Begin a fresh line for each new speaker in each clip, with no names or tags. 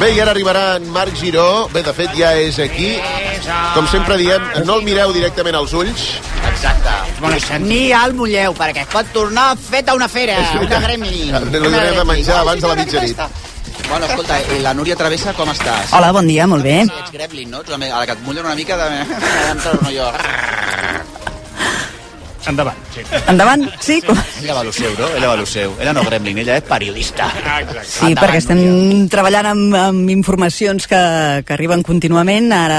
Bé, i ara arribarà en Marc Giró. Bé, de fet, ja és aquí. Com sempre diem, no el mireu directament als ulls.
Exacte.
Ni al mulleu, perquè pot tornar fet a una fera, una gremlin.
Li donarem de menjar abans de la mitjanit.
Bueno, escolta, i la Núria Travessa, com estàs?
Hola, bon dia, molt bé.
Ets gremlin, no? Tu també, a la que et mullen una mica de... no jo.
Endavant, sí.
Endavant, sí? com-
Ella va lo seu, no? Ella va lo seu. Ella no gremlin, ella és periodista.
Exacte.
Sí, perquè estem treballant amb, amb informacions que, que arriben contínuament. Ara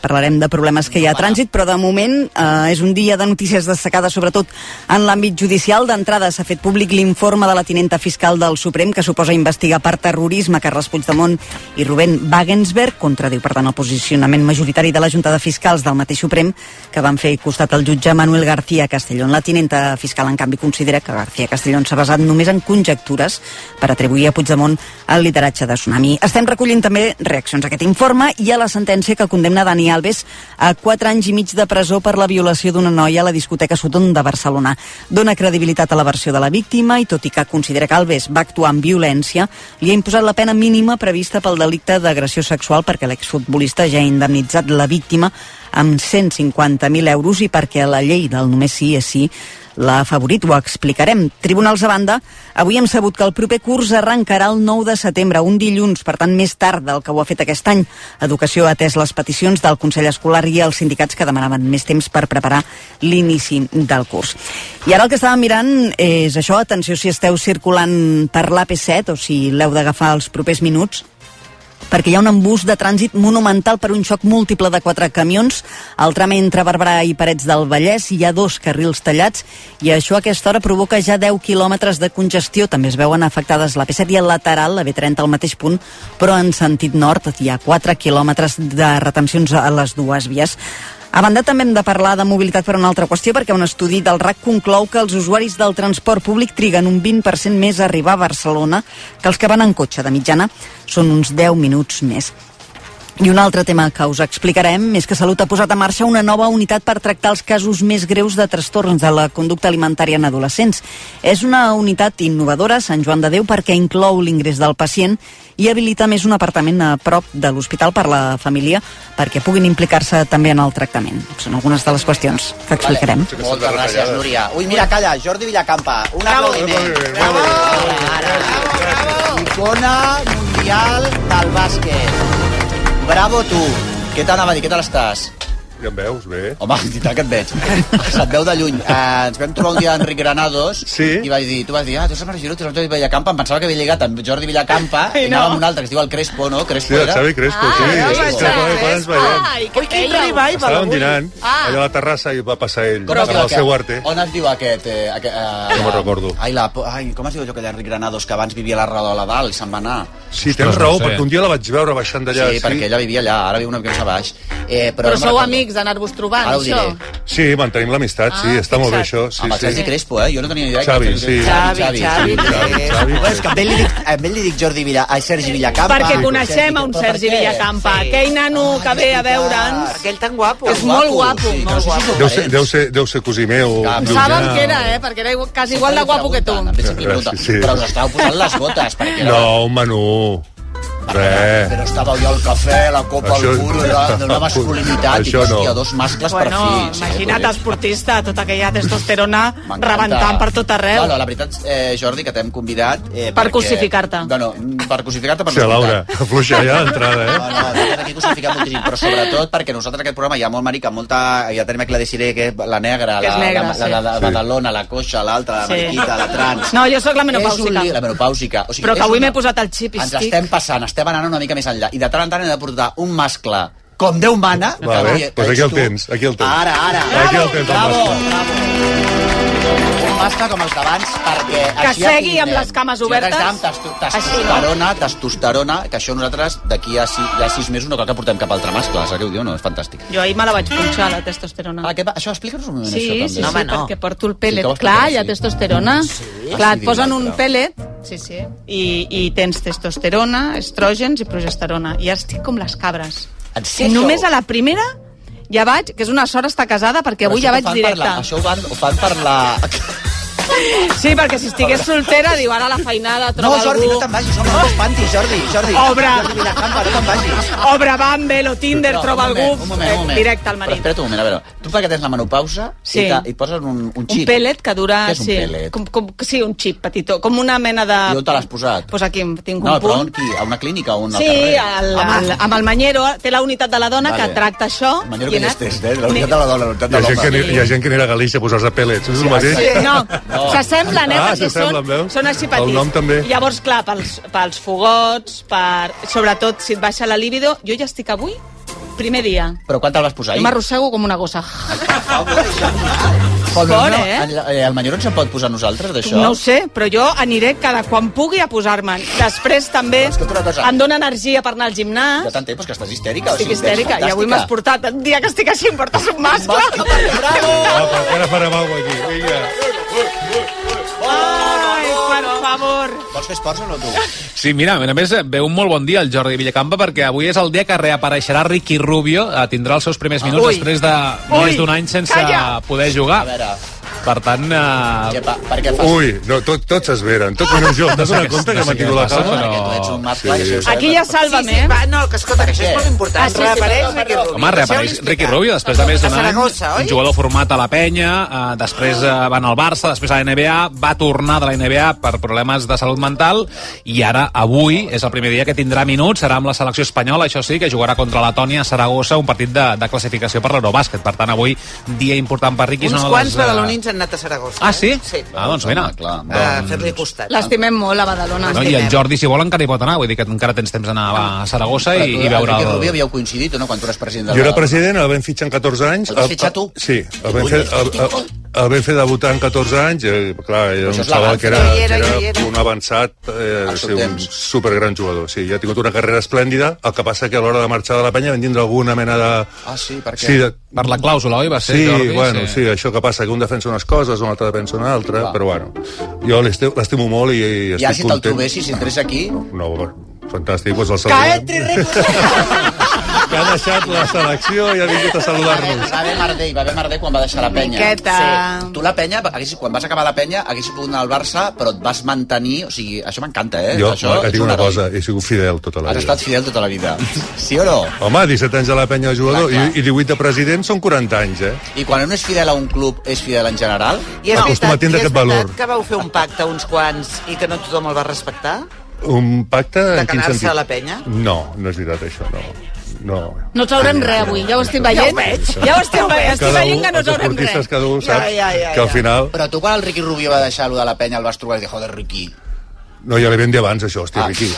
parlarem de problemes que hi ha a trànsit, però de moment eh, és un dia de notícies destacades, sobretot en l'àmbit judicial. D'entrada s'ha fet públic l'informe de la tinenta fiscal del Suprem que suposa investigar per terrorisme Carles Puigdemont i Rubén Wagensberg, contradiu per tant el posicionament majoritari de la Junta de Fiscals del mateix Suprem que van fer costat al jutge Manuel García Castellón. La tinenta fiscal, en canvi, considera que García Castellón s'ha basat només en conjectures per atribuir a Puigdemont el lideratge de Tsunami. Estem recollint també reaccions a aquest informe i a la sentència que condemna Dani Alves a 4 anys i mig de presó per la violació d'una noia a la discoteca Sutton de Barcelona. Dona credibilitat a la versió de la víctima i, tot i que considera que Alves va actuar amb violència, li ha imposat la pena mínima prevista pel delicte d'agressió sexual perquè l'exfutbolista ja ha indemnitzat la víctima amb 150.000 euros i perquè la llei del només sí és sí l'ha afavorit, ho explicarem. Tribunals a banda, avui hem sabut que el proper curs arrencarà el 9 de setembre, un dilluns, per tant més tard del que ho ha fet aquest any. Educació ha atès les peticions del Consell Escolar i els sindicats que demanaven més temps per preparar l'inici del curs. I ara el que estàvem mirant és això, atenció si esteu circulant per l'AP7 o si l'heu d'agafar els propers minuts, perquè hi ha un embús de trànsit monumental per un xoc múltiple de quatre camions. Al tram entre Barberà i Parets del Vallès hi ha dos carrils tallats i això a aquesta hora provoca ja 10 quilòmetres de congestió. També es veuen afectades la P7 i el lateral, la B30 al mateix punt, però en sentit nord hi ha 4 quilòmetres de retencions a les dues vies. A banda, també hem de parlar de mobilitat per una altra qüestió, perquè un estudi del RAC conclou que els usuaris del transport públic triguen un 20% més a arribar a Barcelona que els que van en cotxe. De mitjana són uns 10 minuts més. I un altre tema que us explicarem és que Salut ha posat en marxa una nova unitat per tractar els casos més greus de trastorns de la conducta alimentària en adolescents. És una unitat innovadora, Sant Joan de Déu, perquè inclou l'ingrés del pacient i habilita més un apartament a prop de l'hospital per la família perquè puguin implicar-se també en el tractament. Són algunes de les qüestions que explicarem.
Vale. Moltes gràcies, Núria. Ui, mira, calla, Jordi Villacampa. Un aplaudiment. Bravo! Bravo, bravo! Icona mundial del bàsquet. Bravo, tu. Què t'anava a dir? Què tal estàs?
Ja em veus, bé.
Home, i tant que et veig. Se't veu de lluny. Eh, ens vam trobar un dia Enric Granados
Sí.
i vaig dir, tu vas dir, ah, tu saps Giró, tu saps Jordi Villacampa. Em pensava que havia lligat amb Jordi Villacampa i, anava amb un altre que es diu el Crespo, no? Crespo
Sí, el
era.
Xavi Crespo, sí.
no,
sí,
vaig
sí,
ser
quan- quan ens veiem.
Ai, que feia.
Estàvem dinant allà a la terrassa i va passar ell
Com es diu
amb el
aquest?
seu arte.
On es diu aquest? Eh, aquest eh,
No me'n recordo.
Ai, la, po- ai, com es diu allò que l'Enric Granados, que abans vivia a la Radola dalt i se'n va anar?
Sí,
no
tens
sé.
raó, perquè un dia la vaig veure baixant d'allà.
sí, perquè ella vivia allà, ara viu una mica més a baix. Eh, però
Però
no me'n
sou
recordo.
amics, d'anar-vos trobant,
Ara ho
això.
diré.
Sí, mantenim l'amistat, sí,
Ah,
està molt bé això.
Sí,
Sí,
amb el Sergi
sí.
Crespo, eh? Jo no tenia ni idea. que
Xavi,
el Sergi-
sí.
Xavi, Xavi,
Xavi, Xavi.
Bueno, és que a ell li dic, a ell li dic Jordi Villa, a Sergi Villacampa.
Perquè
Sí,
coneixem a un
però per
Sergi
què?
Villacampa, aquell nano que ve a veure'ns.
Aquell tan guapo.
És molt guapo, molt
sí, no sé si
guapo.
són
Deu ser,
eh?
parents.
deu, ser, deu ser cosí meu.
Clar,
Em
Lluís,
saben
llunyà.
que era, eh? Perquè era igual, quasi igual de
Sempre
guapo que tu.
pregunten, També sempre
Gràcies,
pregunten.
sí.
Però us estàveu posant les botes, perquè...
No, un menú. Res.
Però estava allò el cafè, la copa,
Això-
el puro, la- d'una masculinitat.
Això
Això no.
no.
Hòstia, dos mascles per
Bueno,
fi.
imagina't, esportista, tota aquella testosterona
M'encanta.
rebentant per tot arreu.
Bueno, la veritat, eh, Jordi, que t'hem convidat... Eh,
Per crucificar-te.
No, no, mm, per crucificar-te, per
Hòstia, Laura, afluixa ja d'entrada,
Ah, No,
eh?
no, nosaltres aquí crucifiquem moltíssim, però sobretot perquè nosaltres aquest programa hi ha molt marica, molta... Ja tenim aquí la de Siré, que és la negra,
Que és
la,
negra,
la, la, la, la
sí.
Badalona, la coixa, l'altra, la
Sí.
mariquita, la trans...
No, jo sóc la menopàusica.
És un li- La menopàusica. O sigui,
Però que
és
avui
una-
m'he posat el xip i
Ens
estic-
estem passant, estem anant una mica més enllà. I de tant en tant hem de portar un mascle com Déu mana. que
Va bé,
avui
doncs aquí
ets
el
tu.
tens, aquí el tens.
Ara, ara.
Aquí el tens, el
bravo,
mascle.
bravo. Un mascle com els d'abans, perquè...
Que
així ja
segui
tindrem.
amb les cames
Si nosaltres
obertes.
amb testo-
Així, no?
Testosterona, testosterona, que això nosaltres d'aquí a, si, a sis mesos no cal que portem cap altre mascle, saps què ho diu? No, és fantàstic.
Jo ahir me la vaig punxar, la testosterona.
Ah, què, pa- això explica-nos un moment,
Sí,
això,
sí,
també.
sí,
Home, no.
perquè porto el
Sí,
pèl·let.
que vas
Clar,
portar,
hi ha
sí.
testosterona.
Ah,
Clar,
sí,
et posen un
clar.
pèl·let sí, sí. I, i tens testosterona, estrògens i progesterona. I ara estic com les cabres.
En sèrio?
Només a la primera ja vaig, que és una sort estar casada, perquè avui ja
Però això
vaig
ho fan per
directe.
La, això ho fan, ho fan per la...
Sí, perquè si estigués soltera, diu, ara la feinada
No,
troba
Jordi, no
algú...
te'n vagis, home,
Oh!
no espantis, Jordi, Jordi.
Obre.
Jordi Vilacampa, no te'n vagis.
Obre Bumble o Tinder,
No,
troba
un
algú
moment, un moment, un moment.
directe al marit.
Però espera't un moment, a veure. Tu perquè tens la menopausa
Sí.
i, te, i poses un, un xip.
Un pèlet que dura...
Què és un
sí,
pèlet?
Com, com, sí, un xip petitó, com una mena de...
I on te l'has posat?
Pues aquí en tinc
No,
un
però
punt.
on, qui? A una clínica o on al
Sí,
carrer?
el,
Home,
el, amb el Manyero, eh, té la unitat de la dona
Vale.
que tracta això.
El Manyero
i
que ja
anar-
estès, eh? La unitat de la dona, la unitat
Hi
de
ha, gent que
l'home.
anirà, hi ha gent que anirà a Galícia a posar-se pèl·lets. És el mateix?
Sí, no,
No.
s'assemblen, eh?
Ah,
perquè són,
s'assemblen, veus?
són així petits.
El nom també.
Llavors, clar, pels, pels fogots, per, sobretot si et baixa la líbido, jo ja estic avui, primer dia.
Però quan te'l vas posar
Jo
ahir?
m'arrossego com una gossa.
Però
Fort,
no,
eh?
en la- eh? El Mallorca ens en pot posar a nosaltres, d'això?
No ho sé, però jo aniré cada quan pugui a posar-me'n. Després també
Però escolta una cosa.
em dóna energia per anar al
Ja
gimnàs.
t'entenc, però és que estàs histèrica. o
Estic
sigui, ets
histèrica i avui m'has
fantàstica.
portat. El dia que estic així em portes un mascle.
Bravo!
Apa, Ah, encara farem alguna cosa aquí. Vinga.
Ai, per favor.
Vols fer esports o no, tu?
Sí, mira, a més, ve un molt bon dia el Jordi Villacampa perquè avui és el dia que reapareixerà Ricky Rubio, eh, tindrà els seus primers minuts
Ui.
després de més
Ui.
d'un any sense
Calla.
poder
A
jugar.
veure,
Per tant,
que
eh,
pa, per què fas?
Ui, no, tot, tots es veren. Tots menys jo. T'has donat compte que
No sé
m'ha tingut
què
la
passa,
calma?
Perquè tu ets un mascle, i
Sí.
això ho sabem.
Aquí ja sàlvame,
Sí,
eh?
va, no, que escolta, que això és molt important.
Ah, sí, sí,
reapareix
perdó,
Ricky
perdó.
Rubio.
Home,
Deixeu-li
reapareix Ricky
explicar.
Rubio després de més
A
d'un any.
Saragossa, oi?
Un jugador format a la penya, eh, després eh, va anar al Barça, després a la NBA, va tornar de la NBA per problemes de salut mental i ara, avui, és el primer dia que tindrà minuts, serà amb la selecció espanyola, això sí, que jugarà contra Letònia a Saragossa, un partit de, de classificació per l'Eurobàsquet. Per tant, avui, dia important per Ricky. és
Uns
una de
quants
les, eh,
badalonins han anat a Saragossa.
Ah, sí?
eh? Sí.
Ah, doncs mira.
Home, clar.
A
Ah,
fer-li costat.
L'estimem molt, a Badalona.
No, I el Jordi, si vol, encara hi pot anar, vull dir que encara tens temps d'anar
Ah.
a Saragossa i, i veure
Enrique Rubio
el...
havíeu coincidit, o no?, quan tu eres president de la...
Jo era president, el vam fitxar amb 14 anys.
El vas fitxar tu?
Sí, el vam fer, el, el, el vam fer debutar amb 14 anys. Eh, clar,
això
era un
és legal.
xaval que era,
Jo hi era,
que
jo hi
era
era.
un avançat, eh,
Al seu
sí, un
temps.
supergran jugador. Sí, ja ha tingut una carrera esplèndida, el que passa que a l'hora de marxar de la penya van tindre alguna mena de...
Ah, sí, per què?
Sí, de,
Per la clàusula, oi? Va ser,
Sí,
Jordi?
bueno, sí. això que passa, que un defensa unes coses, un altre defensa una altra,
Clar.
però bueno, jo l'este- l'estimo molt i, i estic
Ja, si te'l
content.
trobessis, si entrés aquí...
No, bueno, fantàstic, doncs el
Que
saludem.
entri Ricky!
Que ha deixat la selecció i ha vingut a saludar-nos.
Va haver merder, hi va haver merder quan va deixar la penya.
Miqueta.
Sí. Tu la penya, haguessis, quan vas acabar la penya, haguessis pogut anar al Barça, però et vas mantenir... O sigui, això m'encanta, eh?
Jo,
això,
et
ets
dic
un
una
heroi.
cosa, he sigut fidel tota la
Has
vida.
estat fidel tota la vida. Sí o no?
Home, 17 anys a la penya de jugador
Clar, clar.
I, i 18 de president són 40 anys, eh?
I quan un és fidel a un club, és fidel en general?
I és
Acostuma a tindre
i és
aquest valor.
veritat que vau fer un pacte uns quants i que no tothom el va respectar?
Un pacte en quin
canar-se
sentit?
a la penya?
No, no és veritat això, no. No,
No traurem res avui, ja ho estic veient.
Ja ho veig. Ja ho estem veient, estic
Cada
veient
un,
que no
els
sabrem
esportistes
res.
cada un sap
ja, ja,
que al
ja.
final...
Però tu quan el Ricky Rubio va deixar allò de la penya el vas trobar i vas dir, joder, Ricky,
No, ja l'he ben dit abans, això, hòstia,
Ah.
Riqui.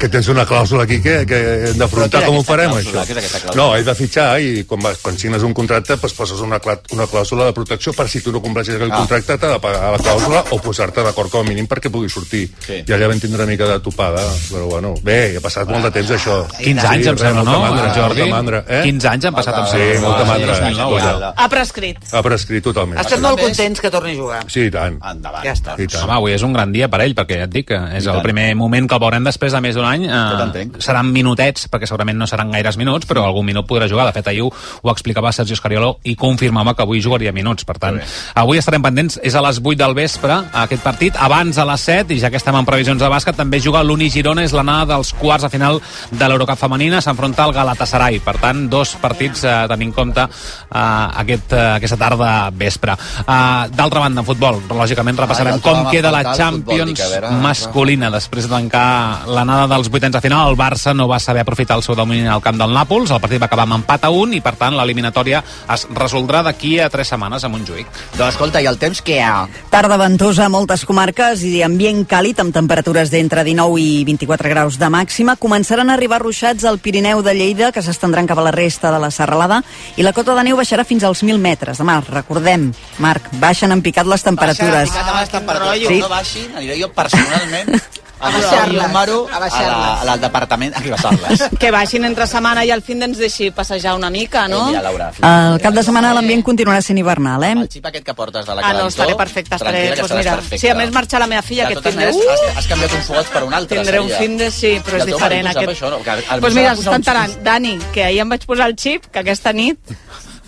Que tens una clàusula aquí que, que hem
Però què
d'afrontar
era
com ho
aquesta
farem,
clàusula?
això.
Què és aquesta clàusula?
No, he de fitxar i quan, vas, quan signes un contracte doncs poses una, clà- una clàusula de protecció per si tu no compleixes el
Ah.
contracte t'ha de pagar la clàusula o posar-te d'acord com a mínim perquè pugui sortir.
Sí.
I allà vam tindre una mica de topada, però bueno, bé, ha passat molt de temps això.
Ah,
15 anys, em
res,
sembla,
molta
no,
Mandra,
Jordi?
Molta mandra, eh?
15 anys han passat, em
Sí,
sembla.
Ah,
molta
Sí,
mandra.
sí, sí,
eh?
sí.
Cosa.
Ha prescrit.
Ha prescrit totalment.
Estem molt contents que torni a jugar.
Sí, i tant.
endavant.
Ja està.
I tant.
Home, avui és un gran dia per ell, perquè ja et dic que és el
tant.
primer moment que el veurem després de més d'un any. Eh,
t'entenc.
seran minutets, perquè segurament no seran gaires minuts, però algun minut podrà jugar. De fet, ahir ho, ho explicava Sergio Escariolo i confirmava que avui jugaria minuts. Per tant, avui estarem pendents. És a les 8 del vespre, aquest partit. Abans a les 7, i ja que estem en previsions de bàsquet, també juga l'Uni Girona, és l'anada dels quarts de final de l'Eurocup femenina, s'enfronta al Galatasaray. Per tant, dos partits a tenir en compte eh, aquest, eh, aquesta tarda vespre. Eh, D'altra banda, en futbol, lògicament
Ah,
repassarem
ja
com
trobava
queda
a
la
faltar el futbol,
Champions
dic, a veure,
masculina després de tancar l'anada dels vuitens de final. El Barça no va saber aprofitar el seu domini al camp del Nàpols. El partit va acabar amb empat a un i, per tant, l'eliminatòria es resoldrà d'aquí a tres setmanes a Montjuïc.
Doncs escolta, i el temps que hi ha?
Tarda ventosa a moltes comarques i ambient càlid amb temperatures d'entre 19 i 24 graus de màxima. Començaran a arribar ruixats al Pirineu de Lleida, que s'estendran cap a la resta de la serralada, i la cota de neu baixarà fins als 1.000 metres. Demà, recordem, Marc, baixen en picat les temperatures.
Picat amb les temperatures.
Sí.
Sí. Ah, No baixin, aniré jo personalment a deixar el
baixar-les.
número a,
A
la,
baixar-les.
a la- al departament a rebaixar-les.
Que baixin entre setmana i al fin ens deixi passejar una mica, no?
Eh, mira, Laura,
El cap de setmana l'ambient continuarà sent hivernal, eh?
El xip aquest que portes de la
Ah,
Calentó...
no, estaré perfecte, estaré...
tranquil·la, que
Pues
estaràs
mira,
perfecta.
sí, a més marxa la meva filla Uh!
De
aquest
totes
fin de...
maneres, has, has canviat un fogat per un altre.
Tindré un
seria.
fin de... Sí,
I
però
el
és
teu
diferent
marit ho sap,
aquest.
Això, no? Que,
Doncs mira,
s'ha
ens estan
posat un-
tarant. Dani, que ahir em vaig posar el xip, que aquesta nit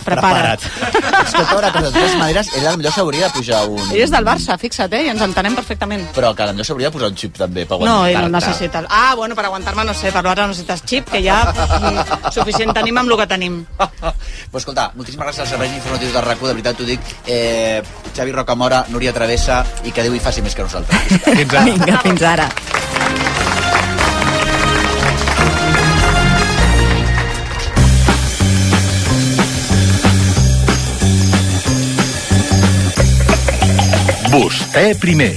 Prepara't.
Escolta, ara, però de totes maneres, ell potser s'hauria de pujar un...
Ell és del Barça, fixa't, eh? I ens entenem perfectament.
Però que potser s'hauria de posar un xip també per
No, ell no
aguantar-te.
necessita... Ah, bueno, per aguantar-me no sé, per l'altre no necessites xip, que ja mm, suficient tenim amb el que tenim.
Però escolta, moltíssimes gràcies als serveis informatius de RAC1, de veritat t'ho dic. Eh, Xavi Rocamora, Núria Travessa, i que Déu hi faci més que nosaltres.
Fins ara.
Vinga, fins ara.
Vostè primer.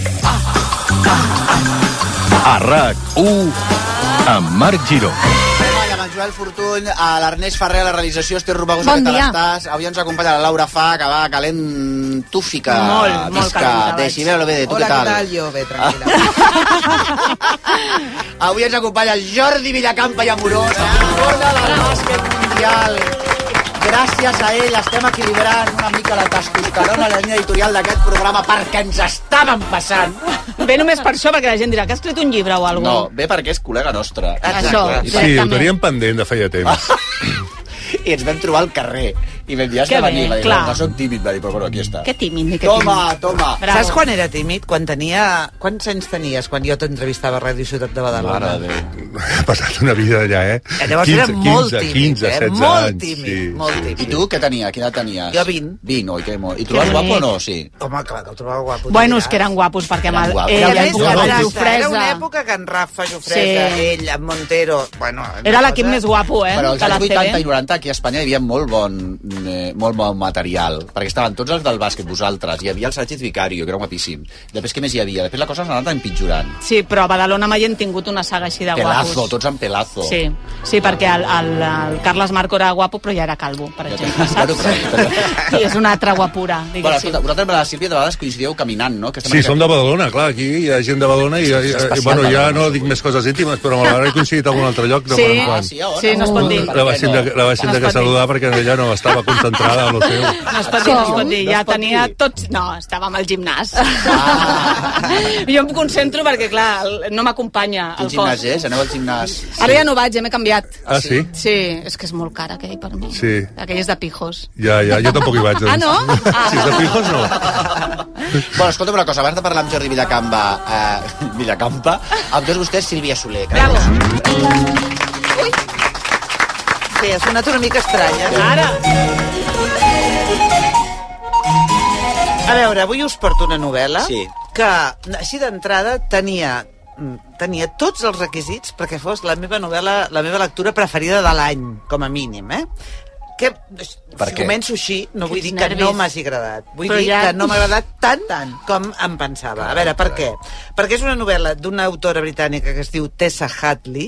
A RAC1 amb Marc Giró.
Hola, amb el Joel Fortuny, a l'Ernest Ferrer, a la realització, Esther Romagosa,
Bon
que te
dia.
l'estàs. Avui ens acompanya la Laura Fa, que va calentúfica.
Molt, molt
Visca,
calenta, vaig.
Decibel, bé, tu
Hola,
què tal?
¿qué tal? Jo bé, tranquil·la.
Avui ens acompanya el Jordi Villacampa i Amorós, campiona del bàsquet mundial. Gràcies a ell estem equilibrant una mica la testosterona a la línia editorial d'aquest programa perquè ens estàvem passant.
Ve només per això, perquè la gent dirà que has escrit un llibre o alguna
No, bé perquè és col·lega nostre.
Això,
Sí, ho
directament.
teníem pendent de feia temps.
I ens vam trobar al carrer. I vam dir, has
Que
de
bé,
venir. Va dir,
clar.
no, soc tímid. Va dir, però bueno, aquí està.
Que tímid, ni que
Toma,
tímid.
toma.
Bravo.
Saps quan era tímid? Quan tenia... Quants anys tenies quan jo t'entrevistava a Ràdio Ciutat de Badalona?
Mare de Déu.
Ha passat una vida allà, eh?
Llavors era molt tímid,
15, 16
eh? Molt
anys.
tímid, molt tímid.
I tu què tenia? Quina tenies?
Jo, 20.
20, oi? Que molt. I trobaves guapo o no? Sí.
Home, clar, que el trobava guapo.
Bueno,
de
és que eren
veritat.
guapos, perquè amb
Eren
el...
guapos.
Ell,
Era
era,
més
era,
guapos.
Era una
Jofresa.
època que en Rafa Jofresa,
Sí.
ell, en Montero... Bueno, una
Era l'equip
cosa-
més guapo, eh?
Però als
de la
anys 80 i
TV.
90 aquí a Espanya hi havia molt bon, eh, molt bon material, perquè estaven tots els del bàsquet, vosaltres, hi havia el Sánchez Vicario, que era guapíssim. Després què més hi havia? Després la cosa s'ha anat empitjorant.
Sí, però a Badalona mai hem tingut una saga així de
Pelazo,
guapos.
tots amb pelazo.
Sí, sí perquè el, el, el Carles Marco era guapo, però ja era calvo, per
Ja
exemple,
tenia-
saps?
Bueno, però-
I és una altra guapura,
Bueno,
diguéssim.
escolta, vosaltres amb la Sílvia de vegades coincidíeu caminant, no? Que estem
Sí,
aquí-
som de Badalona, clar, aquí hi ha gent de Badalona i, i, i bueno, ja no dic més coses íntimes, però m'agradaria coincidir en algun altre lloc de
Sí.
quan en
Ah,
quan.
sí, a on?
Sí, no es pot dir.
Per
La
què no?
vaig tindre, la vaig tindre que saludar perquè ella no estava concentrada en el seu.
No es pot dir, no es pot dir.
No
Ja
es pot
tenia
dir.
tots... No, estàvem al gimnàs.
Ah.
jo em concentro perquè, clar, el- no m'acompanya
Quin
el
gimnàs
cos.
és? Aneu al gimnàs.
Ara ja no vaig, ja m'he canviat.
Ah, sí?
Sí, és que és molt car aquell per mi.
Sí.
Aquell és de pijos.
Ja, ja, jo tampoc hi vaig. Doncs.
Ah, no? Ah.
Si és de pijos, no.
Bueno, escolta'm una cosa, abans de parlar amb Jordi Villacamba, eh, Villacampa, amb tots vostès Sílvia Soler. Que
Bravo.
Sí, ha sonat una mica estranya.
Ara,
A veure, avui us porto una novel·la
Sí.
que, així d'entrada, tenia mm, tenia tots els requisits perquè fos la meva novel·la, la meva lectura preferida de l'any, com a mínim, eh? Que,
Per
si
què?
començo així, no vull dir
Quins
que no
nervis.
m'hagi agradat. Vull
Però
dir
ja-
que no m'ha agradat tant, tant com em pensava. A veure, per què? Perquè és una novel·la d'una autora britànica que es diu Tessa Hadley,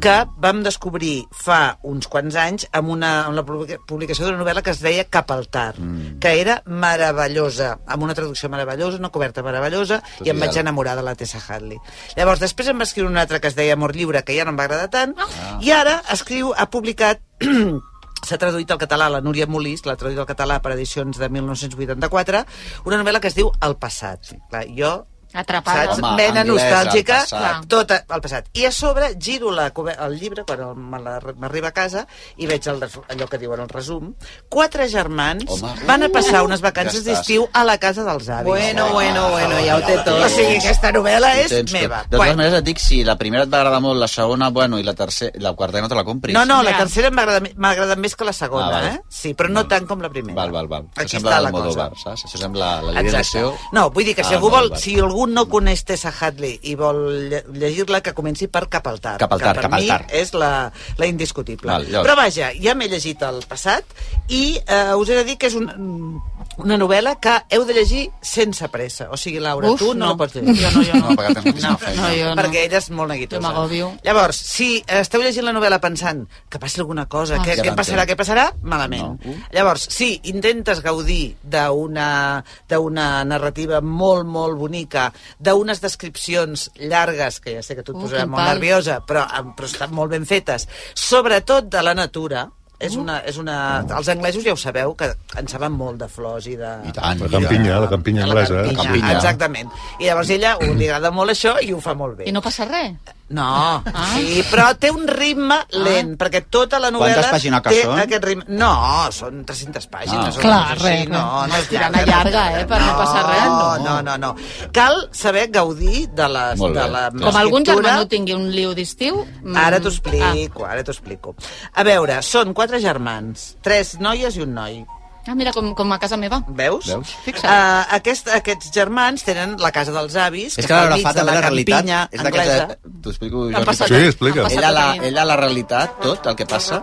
que vam descobrir fa uns quants anys amb, una, amb la publica- publicació d'una novel·la que es deia Cap al tard, que era meravellosa, amb una traducció meravellosa, una coberta meravellosa,
Tot
i em vaig
ideal.
enamorar de la Tessa Hadley. Llavors, després em va escriure una altra que es deia Amor lliure, que ja no em va agradar tant, i ara escriu, ha publicat s'ha traduït al català la Núria Molís, l'ha traduït al català per edicions de 1984, una novel·la que es diu El passat. Clar, jo
atrapada.
saps?
Home,
Vena
anglesa,
nostàlgica,
el passat.
tot el passat. I a sobre giro la, cobe- el llibre quan el- me la- m'arriba a casa i veig el, resu- allò que diuen el resum. Quatre germans
Home. Uh!
van a passar unes vacances
Ja estàs.
d'estiu a la casa dels avis.
Bueno, bueno, bueno, ja ho té tot.
O sigui, aquesta novel·la és
Tens tot.
meva.
De totes maneres et dic, si la primera et va agradar molt, la segona, bueno, i la tercera, la quarta ja no te la compris.
No, no, la
Ja.
tercera m'ha agradat, m'ha agradat més que la segona,
Ah, val.
eh? Sí, però no tant com la primera.
Val, val, val.
Aquí
Això sembla
està la cosa.
l'Almodóvar, saps? Això sembla la Lídia
Exacte.
Deseo.
No, vull dir que si
Ah,
algú vol,
Almodóvar.
si algú no coneix Tessa Hadley i vol lle- llegir-la, que comenci per Cap al tard.
Cap al tard,
que per
Cap al
mi
tard.
és la, la indiscutible.
Val, llavors.
però vaja, ja m'he llegit el passat i eh, us he de dir que és un, una novel·la que heu de llegir sense pressa. O sigui, Laura,
Uf,
tu
no.
no, la pots llegir. Jo no, jo
No, perquè tens moltíssima feina.
No, jo no.
perquè ella és molt neguitosa.
Jo m'agobio.
Llavors, si esteu llegint la novel·la pensant que passi alguna cosa,
Ah.
ah, què,
Ja
què
l'entenc.
passarà, què passarà, malament.
No.
Uh.
No. Llavors, si intentes gaudir d'una d'una narrativa molt, molt bonica, d'unes descripcions llargues, que ja sé que tu et
Uh,
posarà
quin
molt
pal.
nerviosa, però, em- però estan molt ben fetes, sobretot de la natura, és
Uh.
una, és una... Els anglesos ja ho sabeu, que en saben molt de flors i de...
I tant. La campinya, la campinya anglesa, eh?
La campinya, exactament. I llavors ella ho, li agrada molt això i ho fa molt bé.
I no passa res.
No, ah. sí, però té un ritme lent, ah. perquè tota la novel·la
Quantes pàgines que
té
són?
aquest ritme. No, són 300 pàgines.
No.
o
Clar,
coses
res,
No,
no.
no és
Tirant a llarga, eh, per no passar res, no.
No, no, no. Cal saber gaudir de, les,
Molt
de
bé.
la
Com algun germà
escriptura.
no Ah. tingui un liu d'estiu... mm,
Ara t'ho explico, ara t'ho explico. A veure, són quatre germans, tres noies i un noi.
Ah, ah, mira, com, com a casa meva.
Veus?
Veus? Fixa't.
Ah.
Uh, aquest, aquests germans tenen la casa dels avis,
És que
està
la
al
Laura
mig
fa
de
també
la,
la realitat.
campinya
És
anglesa.
d'aquesta... T'ho explico,
Han
Jordi.
passat- Sí, explica. han passat
Ella la,
per mi.
ella la realitat, tot el que passa,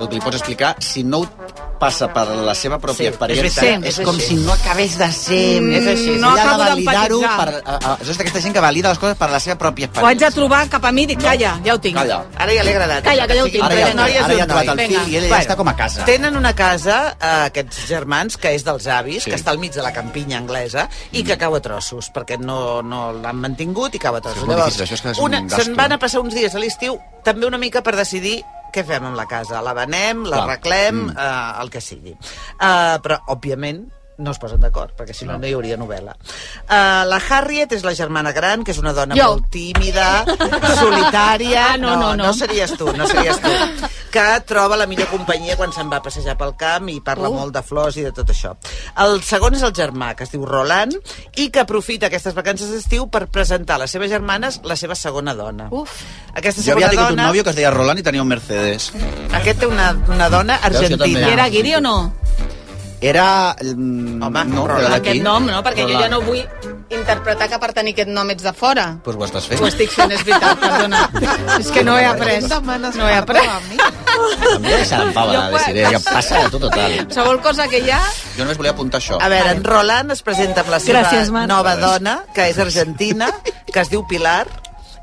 el que li pots explicar, si no ho passa per la seva pròpia
Sí, és
experiència,
veritat,
és,
és
com
així.
si no acabés de ser...
Mm, és així,
Ella
no
ha de
acabo
validar-ho per...
d'empatitzar.
A, a, és aquesta gent que valida les coses per la seva pròpia
Ho haig
experiència.
de trobar cap a mi i dic, calla, ja ho tinc.
Calla.
Ara ja li ha agradat.
Calla, que ja ho tinc.
Ara ja,
Tres noies
ara
i
ja
un
ha trobat
noi.
el fil i ella ja
Bueno,
està com a casa.
Tenen una casa, eh, aquests germans, que és dels avis,
Sí.
sí. que està al mig de la campinya anglesa, i que cau a trossos, perquè no, no l'han mantingut i cau a trossos.
és molt difícil, això és que és
una,
un gasto.
se'n van a passar uns dies a l'estiu, també una mica per decidir què fem amb la casa. La venem,
Clar.
l'arreglem,
Mm.
mm. eh, el que sigui. Eh, però, òbviament, no es posen d'acord, perquè si no, no hi hauria novel·la. Eh, la Harriet és la germana gran, que és una dona
Jo.
molt tímida, solitària...
Ah, no, no, no.
no series tu, no series tu que troba la millor companyia quan se'n va a passejar pel camp i parla
Uh.
uh. molt de flors i de tot això. El segon és el germà, que es diu Roland, i que aprofita aquestes vacances d'estiu per presentar a les seves germanes la seva segona dona.
Uf.
Aquesta
Jo
segona
havia tingut un
dona...
nòvio que es deia Roland i tenia un Mercedes.
Aquest té una, una dona
jo
argentina.
també.
Era guiri o no?
Era... mm,
Home,
no,
Roland.
era d'aquí.
Aquest nom, no? Perquè jo
Roland.
ja no vull interpretar que per tenir aquest nom ets de fora.
Doncs ho estàs fent.
Ho estic fent, és veritat, perdona. És que no he
Pues
après. No he après.
Em vaig deixar en pau,
Jo
la
quan-
Desiree, que passa de tot total.
Qualsevol cosa que hi ha...
Jo només volia apuntar això.
A veure, en Roland es presenta amb la seva
Gràcies, Marc.
nova dona, que és argentina, que es diu Pilar,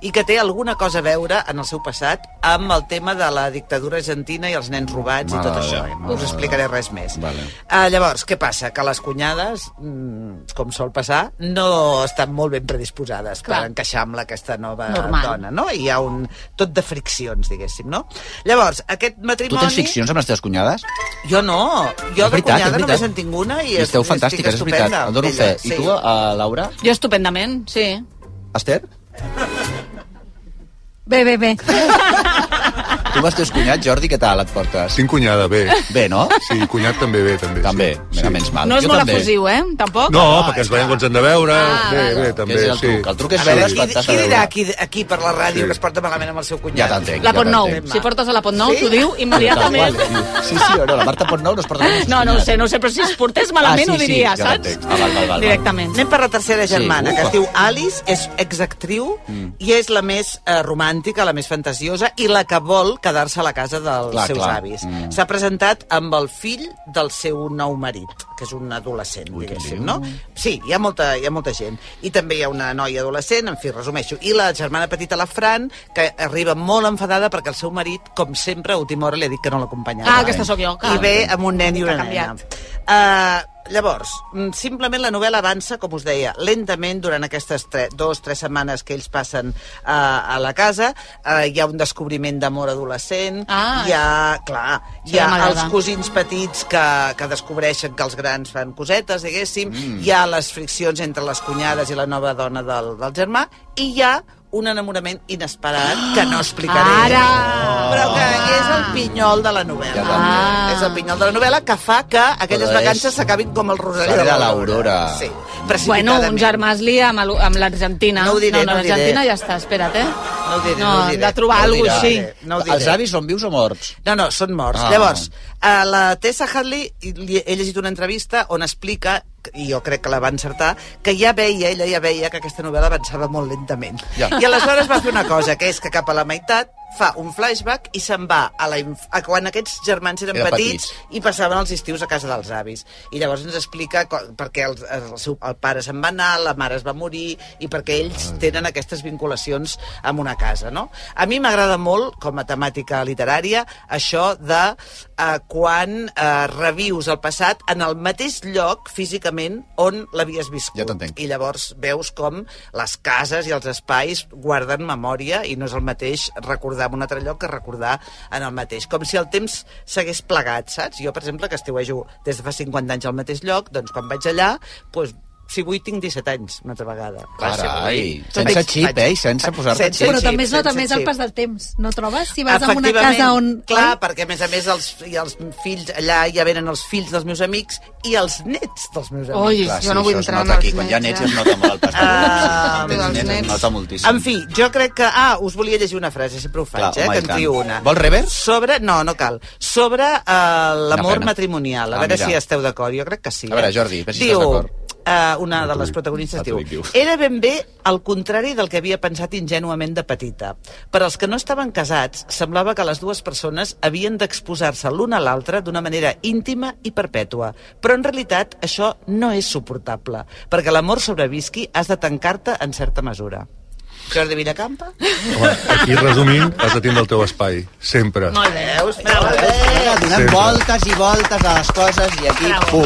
i que té alguna cosa a veure en el seu passat amb el tema de la dictadura argentina i els nens robats i
Mare
tot
de
això.
Déu,
No us explicaré res més.
Vale.
Uh, llavors, què passa? Que les cunyades, mm, com sol passar, no estan molt ben predisposades
Clar.
per encaixar amb aquesta nova
Normal.
dona, no? Hi ha un tot de friccions, diguéssim, no? Llavors, aquest matrimoni...
Tu tens ficcions amb les teves cunyades?
Jo no. Jo de
És veritat, és
cunyada
veritat.
només en tinc una i,
I esteu
estic
fantàstiques, és veritat.
estupenda
El dono
amb
fe.
ella,
I tu, eh? a Laura?
Jo estupendament, sí.
Esther?
Bé, bé, bé.
Tu amb els teus cunyats, Jordi, què tal et portes?
Tinc cunyada, bé.
Bé, no?
Sí, cunyat també bé, també.
També,
sí.
mira, menys mal.
No és
Ah, Jo
molt
també.
efusiu, eh? Tampoc?
No, perquè ens veiem quan ens hem de veure.
Ah,
bé,
val.
bé,
Que
també,
és el
sí.
truc, el truc és
A veure,
sí,
qui,
espantar-se
qui
de
dirà
veure.
aquí, aquí per la ràdio
Sí.
que es porta malament amb el seu
Ja
cunyat?
t'entenc.
La
ja
Pont Nou.
t'entenc.
Si portes a la Pont Nou,
Sí?
t'ho diu immediatament.
Tal qual, Sí, sí, no, la Marta Pont Nou no es porta amb els seus
No, no ho
cunyats.
sé, no ho sé, però si es portés malament
Ah,
ho
sí,
diria,
sí, ja
saps?
t'entenc. Ah, val, val, val.
Directament.
Anem per la tercera
Sí,
germana, que
ufa.
es diu Alice, és exactriu mm. i és la més eh, romàntica, la més fantasiosa i la que vol quedar-se a la casa dels
Clar,
clar, seus
clar.
clar. avis.
Mm.
Mm. S'ha presentat amb el fill del seu nou marit, que és un adolescent,
Ui,
Ui,
què
diguéssim,
diu?
no? Sí, hi ha, molta, hi ha molta gent. I també hi ha una noia adolescent, en fi, resumeixo. I la germana petita, la Fran, que arriba molt enfadada perquè el seu marit, com sempre, a última hora li ha dit que no l'acompanyarà.
Ah, aquesta sóc jo, clar.
I ve amb un nen i una
T'ha
nena.
canviat.
Uh, llavors, mm, simplement la novel·la avança, com us deia, lentament durant aquestes tre dos, tres setmanes que ells passen uh, a la casa. Uh, hi ha un descobriment d'amor adolescent,
Ah.
hi ha, clar,
Això
hi ha
m'agrada.
els cosins petits que, que descobreixen que els grans fan cosetes, diguéssim, mm. hi ha les friccions entre les cunyades i la nova dona del, del germà, i hi ha un enamorament inesperat que no explicaré.
Ara!
Però que és el pinyol de la novel·la.
Ah.
Ah. És el pinyol de la novel·la que fa que aquelles
Però és-
vacances s'acabin com el rosari
Serà
de
l'Aurora.
l'Aurora. Sí,
Bueno,
precipitadament.
un germà es lia amb, el- amb l'Argentina.
Oh, No ho diré,
no,
no ho diré.
l'Argentina ja està, espera't, eh?
No ho diré, no,
No,
ho
hem
diré.
de trobar
no ho
algú
diré,
així.
No ho diré.
Els avis són vius o morts?
No, no, són morts.
Ah.
Ah. Llavors, a la Tessa Hadley, li- he llegit una entrevista on explica i jo crec que la va encertar, que ja veia, ella ja veia que aquesta novel·la avançava molt lentament.
Ja.
Ja. I aleshores va fer una cosa, que és que cap a la meitat fa un flashback i se'n va a, la inf... a quan aquests germans eren,
Eren
petits,
petits.
i passaven els estius a casa dels avis. I llavors ens explica co- per què el, el seu el pare se'n va anar, la mare es va morir i per què ells tenen aquestes vinculacions amb una casa, no? A mi m'agrada molt, com a temàtica literària, això de eh, quan eh, revius el passat en el mateix lloc físicament on l'havies viscut.
Ja t'entenc.
I llavors veus com les cases i els espais guarden memòria i no és el mateix recordar en un altre lloc que recordar en el mateix. Com si el temps s'hagués plegat, saps? Jo, per exemple, que estiuejo des de fa 50 anys al mateix lloc, doncs quan vaig allà, doncs, si vull tinc 17 anys una altra vegada. Clar, si
Carai,
vull.
sense
Vaig-
xip, eh? I sense posar-te
Sense-
xip.
Però també es
sense
nota més el
xip.
pas del temps, no trobes? Si vas a una
Efectivament,
casa on...
Clar, perquè a més a més els, i els fills, allà ja venen els fills dels meus amics i els nets dels meus amics.
Oi, Clar, jo sí, no vull això es entrar en nota els aquí. Quan hi ha nets, nets, eh? es nota molt el pas del
Ah,
temps. Quan tens Dels nets, es nets. nota moltíssim.
Um, En fi, jo crec que... Ah, us volia llegir una frase, sempre ho
Clar,
faig, eh,
home,
que
i
en
tant.
trio una.
Vol revers?
Sobre... No, no cal. Sobre eh, l'amor
pena.
matrimonial. A
Ah,
veure
mira.
si esteu d'acord. Jo crec que sí.
A veure,
eh?
Jordi, a veure si
Diu,
estàs d'acord.
eh, una de les protagonistes diu, era ben bé el contrari del que havia pensat ingenuament de petita. Per als que no estaven casats, semblava que les dues persones havien d'exposar-se l'una a l'altra d'una manera íntima i perpètua. Però en realitat això no és suportable. Perquè l'amor sobrevisqui has de tancar-te en certa mesura. Jordi Villacampa?
Home, aquí, resumint, has de tindre el teu espai, sempre.
Molt bé. Veus?
Mira, donem
Sempre.
voltes i voltes a les coses i aquí...
Pum.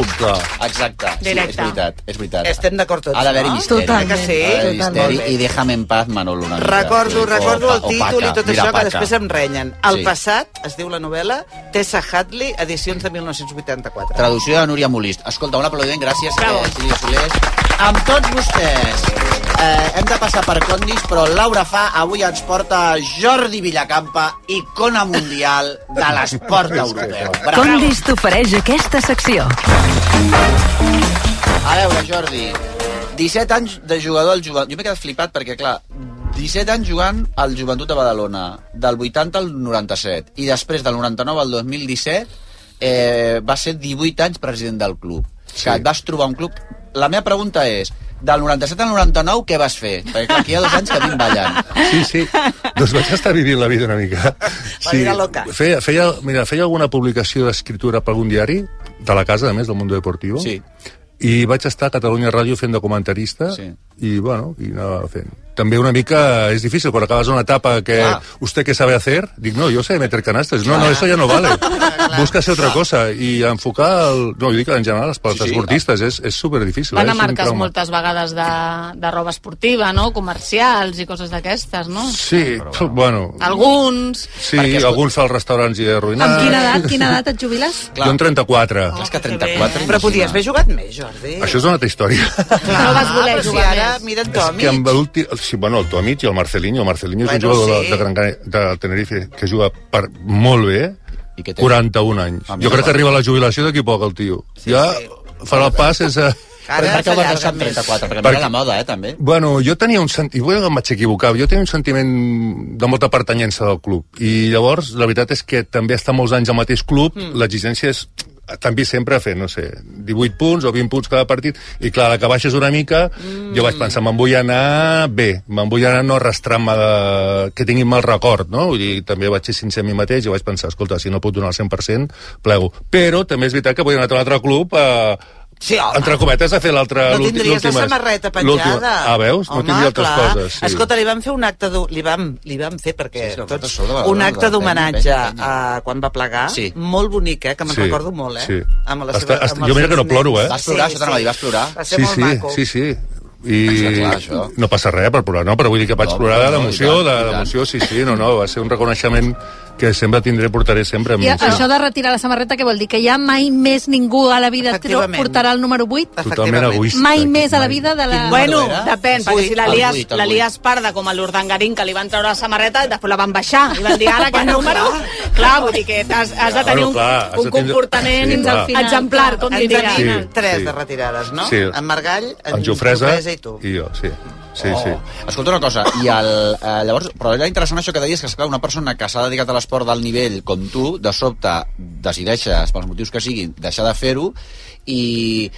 Exacte. Sí, és
Directe.
veritat, és veritat.
Estem d'acord tots,
Ha d'haver-hi
no?
misteri.
Totalment. Que sí?
Ha d'haver-hi
Totalment.
misteri i déjame en paz, Manolo, una mica.
Recordo,
O-
recordo
o
el
pa- o
títol
paca.
i tot
Mira,
això,
paca.
que després em renyen. El
Sí.
passat, es diu la novel·la, Tessa Hadley, edicions de 1984.
Traducció de Núria Molist. Escolta, un aplaudiment, gràcies,
Bravo.
eh, Silvia Solés.
Amb tots vostès eh, hem de passar per Condis, però Laura Fa avui ens porta Jordi Villacampa, icona mundial de l'esport europeu. Bravo.
Condis t'ofereix aquesta secció.
A veure, Jordi, 17 anys de jugador al joventut. Jo m'he quedat flipat perquè, clar, 17 anys jugant al Joventut de Badalona, del 80 al 97, i després del 99 al 2017 eh, va ser 18 anys president del club. Sí. Que et vas trobar un club... La meva pregunta és, del 97 al 99 què vas fer? Perquè clar, aquí hi ha dos anys que vinc ballant.
Sí, sí. Doncs vaig estar vivint la vida una mica.
vida loca.
Feia, feia, mira, feia alguna publicació d'escriptura per algun diari, de la casa, a més, del Mundo Deportivo. Sí. I vaig estar a Catalunya Ràdio fent de comentarista sí. i, bueno, i anava fent. També una mica és difícil, quan acabes una etapa que
Clar.
usted què sabe hacer, dic, no, yo sé meter canastes. No, no, eso ya no vale. Búscase otra cosa. I enfocar el... No, jo dic en general, per als
sí,
esportistes és, és superdifícil.
Van a
eh? És un
marques
trauma.
moltes vegades de, de roba esportiva, no? Comercials i coses d'aquestes, no?
Sí, però, bueno,
Alguns...
Sí, alguns als restaurants i arruïnats.
Amb quina edat, quina edat et jubiles?
Jo en 34.
És que 34...
Però podies haver jugat més, Jordi.
Això és una altra història.
Clar, no vas voler jugar si ara, més. Mira, en
És
Tomi,
que amb l'últim... Sí, bueno, el Tomic i el Marcelinho. El Marcelinho és un
Bueno,
jugador
sí.
de, de, Gran Canaria, de Tenerife que juga per molt bé, I
té?
41 anys.
Ah, mira,
jo crec
bueno.
que arriba a la jubilació d'aquí a poc, el tio. Sí, ja farà el pas sense...
Però per què ho vas deixar amb 34? Perquè mira
Perquè-
la moda, eh, també.
Bueno, jo tenia un sentiment, bueno, em vaig equivocar, jo tenia un sentiment de molta pertanyença del club. I llavors, la veritat és que també estar molts anys al mateix club, mm. l'exigència és també sempre a fer, no sé, 18 punts o 20 punts cada partit, i clar, la que baixes una mica, mm. jo vaig pensar, me'n vull anar bé, me'n vull anar no arrastrant-me de... que tingui mal record, no? Vull dir, també vaig ser sincer amb mi mateix i vaig pensar, escolta, si no puc donar el 100%, plego. Però també és veritat que vull anar a un altre club eh, a...
Sí, home.
entre cometes, a fer l'altre...
no
l'últim-
tindries la
l'última-
samarreta
l'última-
penjada.
Ah, veus? No
Home,
tindria altres
clar.
coses. Sí.
Escolta, li vam fer un acte... d'ho- Li vam, li vam fer, perquè
Sí, sí,
tots...
sou de Badalona,
un
de
acte
penya,
d'homenatge
penya,
a quan va plegar.
Sí.
Molt bonic, eh? Que me'n
Sí,
recordo molt, eh?
sí.
Amb la
Està-
seva,
està-
amb els
jo mira que
seus
no ploro,
nets.
eh?
Vas plorar, això t'anava a dir, vas plorar?
Va ser
sí,
molt
sí,
maco.
sí, sí. I
Està clar, això.
no passa res per plorar, no? Però vull dir que vaig
No,
plorar
no,
de
no,
l'emoció,
i tant,
de
i tant.
l'emoció, sí, sí, no, no, va ser un reconeixement que sempre tindré, portaré sempre amb mi.
I
sí.
això de retirar la samarreta, què vol dir? Que ja mai més ningú a la vida tro-
Efectivament.
portarà el número 8?
Totalment egoista.
Mai més a la vida de la...
Bueno, depèn, perquè si la
El
lies,
vuit, el
la
vuit.
lies parda com a l'Urdangarín, que li van treure la samarreta, i després la van baixar, i van dir, ara aquest número... Clar, vull dir que has, has de
Clar,
tenir
bueno,
un,
clar, has
un
de tindre-
comportament
Sí, clar.
exemplar, com
En
diria.
tenim
Sí,
tres
sí.
de retirades, no?
Sí.
En Margall, en,
En Jofresa
i tu.
I jo, sí. Sí,
oh.
sí.
Escolta una cosa, i el, eh, llavors, però era interessant això que deies, que esclar, una persona que s'ha dedicat a l'esport del nivell com tu, de sobte decideixes, pels motius que siguin, deixar de fer-ho, i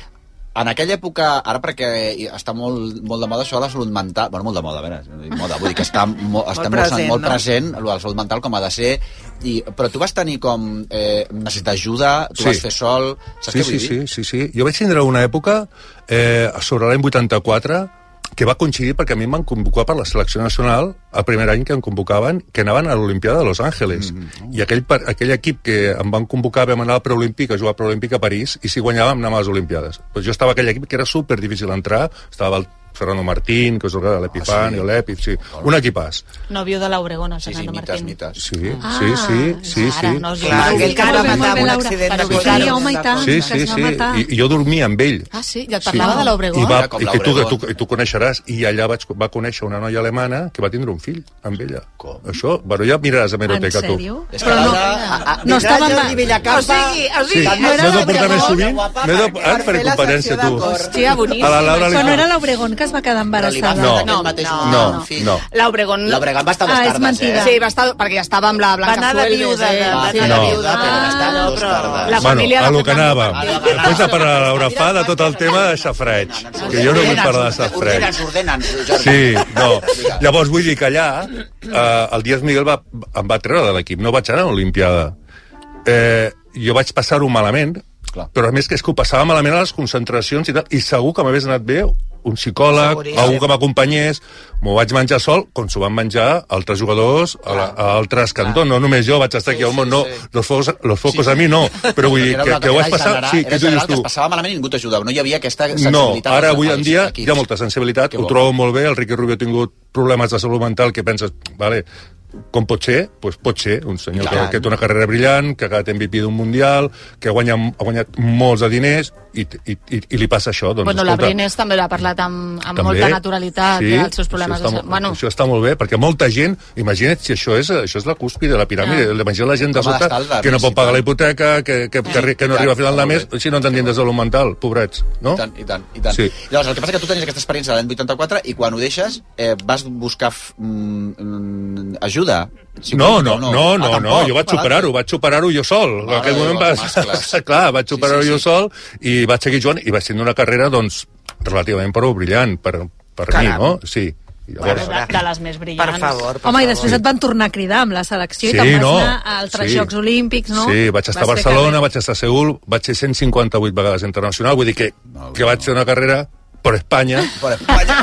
en aquella època, ara perquè està molt, molt de moda això de la salut mental, bueno, molt de moda, a veure, no dic moda, vull dir que està, mo, està molt, present,
present,
molt
no?
present no? la salut mental com ha de ser, i, però tu vas tenir com eh, necessitar ajuda, tu
Sí.
vas fer sol, saps
Sí,
què vull
sí,
dir?
sí, sí, sí. Jo vaig tindre una època, eh, sobre l'any 84, que va coincidir perquè a mi em van convocar per la selecció nacional el primer any que em convocaven, que anaven a l'Olimpiada de Los Angeles. Mm
oh.
-hmm. I aquell, par- aquell equip que em van convocar vam anar al preolímpic, a jugar al preolímpic a París, i si guanyàvem anàvem a les Olimpiades. Pues jo estava aquell equip que era super difícil entrar, estava el Fernando Martín, que us recorda,
Ah,
l'Epifan,
sí.
oh, sí. l'Epif, sí. Un equipàs.
Nòvio de l'Oregón, el Fernando
mites,
Martín.
mites.
Sí,
Ah,
sí, sí, sí,
Ah, Ara,
sí.
no us
Clar,
diu.
aquell que
Molt
va
bé,
matar
molt
amb
bé,
un
Laura.
accident de
Però
cotxe.
Sí, home, i tant,
Sí,
que
sí,
es va
sí.
matar.
I, I jo dormia amb ell.
Ah, sí? I et parlava de l'Obregón?
I, va,
Com
i que tu,
l'Obregón.
tu, tu coneixeràs. I allà vaig, va conèixer una noia alemana que va tindre un fill amb ella. Com? Això, bueno, ja miraràs a Meroteca, tu.
És que
Però no,
ara-
no estava...
Jordi Villacampa...
O sigui, o
Sí,
sigui,
m'he de portar més
guapa,
sovint.
guapa,
M'he de...
perquè
Ara
per
faré
fer la
competència,
secció
tu.
d'acord.
Hòstia, boníssim.
A la Laura li
Però no
fa-
era l'Obregón que es va quedar
Però li va
embarassada.
No.
fer no, mateix
no,
moment,
no.
fill.
No.
L'Obregón...
L'Obregón va estar dos
Ah, és
tardes,
mentida.
eh?
Sí, va estar, perquè ja estava amb la
Va
Blanca
anar de
Fuelves,
viuda, de,
eh?
va
Ah,
Va
Sí.
anar
No.
de viuda, però va estar
Ah,
dos
però-
tardes.
La
Bueno,
família
a
de
lo que
Fernando
anava.
Martín.
Després de parlar de l'abrafada, tot el tema de safareig. Que jo no vull parlar de safareig.
Ordena'ns, ordena'ns, Jordi.
Sí, no. Llavors vull dir que allà eh, el Díaz Miguel va, em va treure de l'equip, no vaig anar a l'Olimpiada. Eh, jo vaig passar-ho malament,
Clar.
però a més que és que ho passava malament a les concentracions i tal, i segur que m'hagués anat bé un psicòleg,
Seguríssim.
algú que m'acompanyés, m'ho vaig menjar sol, com s'ho van menjar altres jugadors a, la, a altres cantons, no només jo vaig estar aquí al món, no, los focos, los focos a mi no, però vull dir
Era
que,
una-
que ho
era
vaig passar...
general-
Sí,
era
que tu
general
dius
que es
tu,
passava malament i ningú t'ajudava. No hi havia aquesta
no,
sensibilitat
ara
als-
avui en
als
dia
equips.
hi ha molta sensibilitat,
Que
ho
bo.
trobo molt bé, el Ricky Rubio ha tingut problemes de salut mental que penses, vale, com pot ser? Pues pot ser, un senyor que,
Clar.
que té una carrera brillant, que ha quedat MVP d'un Mundial, que ha guanyat, ha guanyat molts de diners i, i, i, i li passa això. Doncs,
Bueno, la
escolta,
Brines també l'ha parlat amb, amb molta naturalitat sí, dels seus problemes.
Això
de
està,
sa-
molt,
bueno,
això està molt bé, perquè molta gent, imagina't si això és, això és la cúspide de la piràmide,
Ja.
ja. imagina't la gent de
Com ha
sota
d'estar el Darwin,
que no
sí,
pot
tant.
pagar la hipoteca, que, que, que, que, no
Ja,
arriba a final de
molt
mes,
bé.
si no t'entén de salut mental, pobrets, no?
I tant, i tant, i tant.
Sí.
Sí. Llavors, el que passa és que tu tenies aquesta experiència de l'any 84 i quan ho deixes eh, vas buscar f- mm, mm, ajuda.
No, no, no, no,
Ah,
no, no,
tampoc.
jo vaig
Vale.
superar-ho, vaig superar-ho jo sol.
Mare
en aquell
de
moment
Déu,
va...
els mascles.
clar, vaig superar-ho
Sí, sí,
jo
sí.
sol i vaig seguir jugant i vaig tenir una carrera, doncs, relativament però brillant per, per mi,
Caram.
no? Sí. I llavors,
de, de les més
Per
brillants.
favor, per
Home, i
favor.
després et van tornar a cridar amb la selecció
Sí,
i te'n vas
no.
anar a altres
Sí.
Jocs Olímpics, no?
Sí, vaig estar a
Vas fer
Barcelona,
carrer.
vaig estar a Seul, vaig ser 158 vegades internacional, vull dir que, que vaig fer una carrera per Espanya
Però, vaja,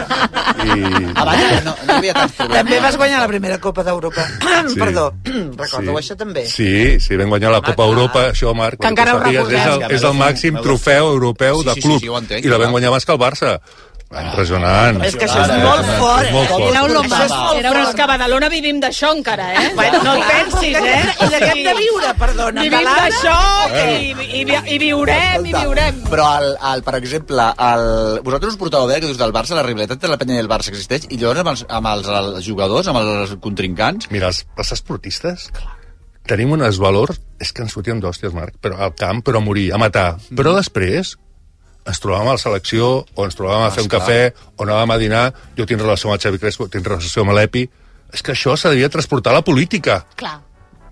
i...
abans no, no hi havia tants problemes.
També vas guanyar la primera Copa d'Europa.
Sí.
Perdó, recordo això també. Ah,
Sí, sí, vam guanyar la Copa Europa, això, Marc, perquè
encara
tu
ho
sàpigues,
recordem.
És el, és el màxim trofeu europeu
Sí,
de
sí, sí,
club,
sí, ho entenc,
i la
clar.
vam guanyar més que el Barça. Impressionant.
És que això és molt fort.
És molt
eh?
fort.
Era un lombard.
Això és
Era
molt
Era
però és
un-
que a Badalona vivim d'això encara, eh?
Bueno,
no et
clar,
pensis,
perquè-
eh?
I de què hem de viure, perdona?
Vivim
de l'Anna?
d'això
Eh.
i, i, vi- i viurem, i
Escolta,
viurem.
Però, el, el, per exemple, el... vosaltres us portàveu bé que dius del Barça, la rivalitat entre la penya i el Barça existeix, i llavors amb els, amb els, els jugadors, amb els contrincants,
Mira, els, els esportistes tenim uns valors... És que ens fotíem d'hòsties, Marc, però al camp, però a morir, a matar.
Mm.
Però després ens trobàvem a la selecció, o ens trobàvem a fer un
Ah, Esclar.
cafè, o anàvem a dinar, jo tinc relació amb el Xavi Crespo, tinc relació amb l'Epi... És que això s'ha devia transportar a la política,
Clar.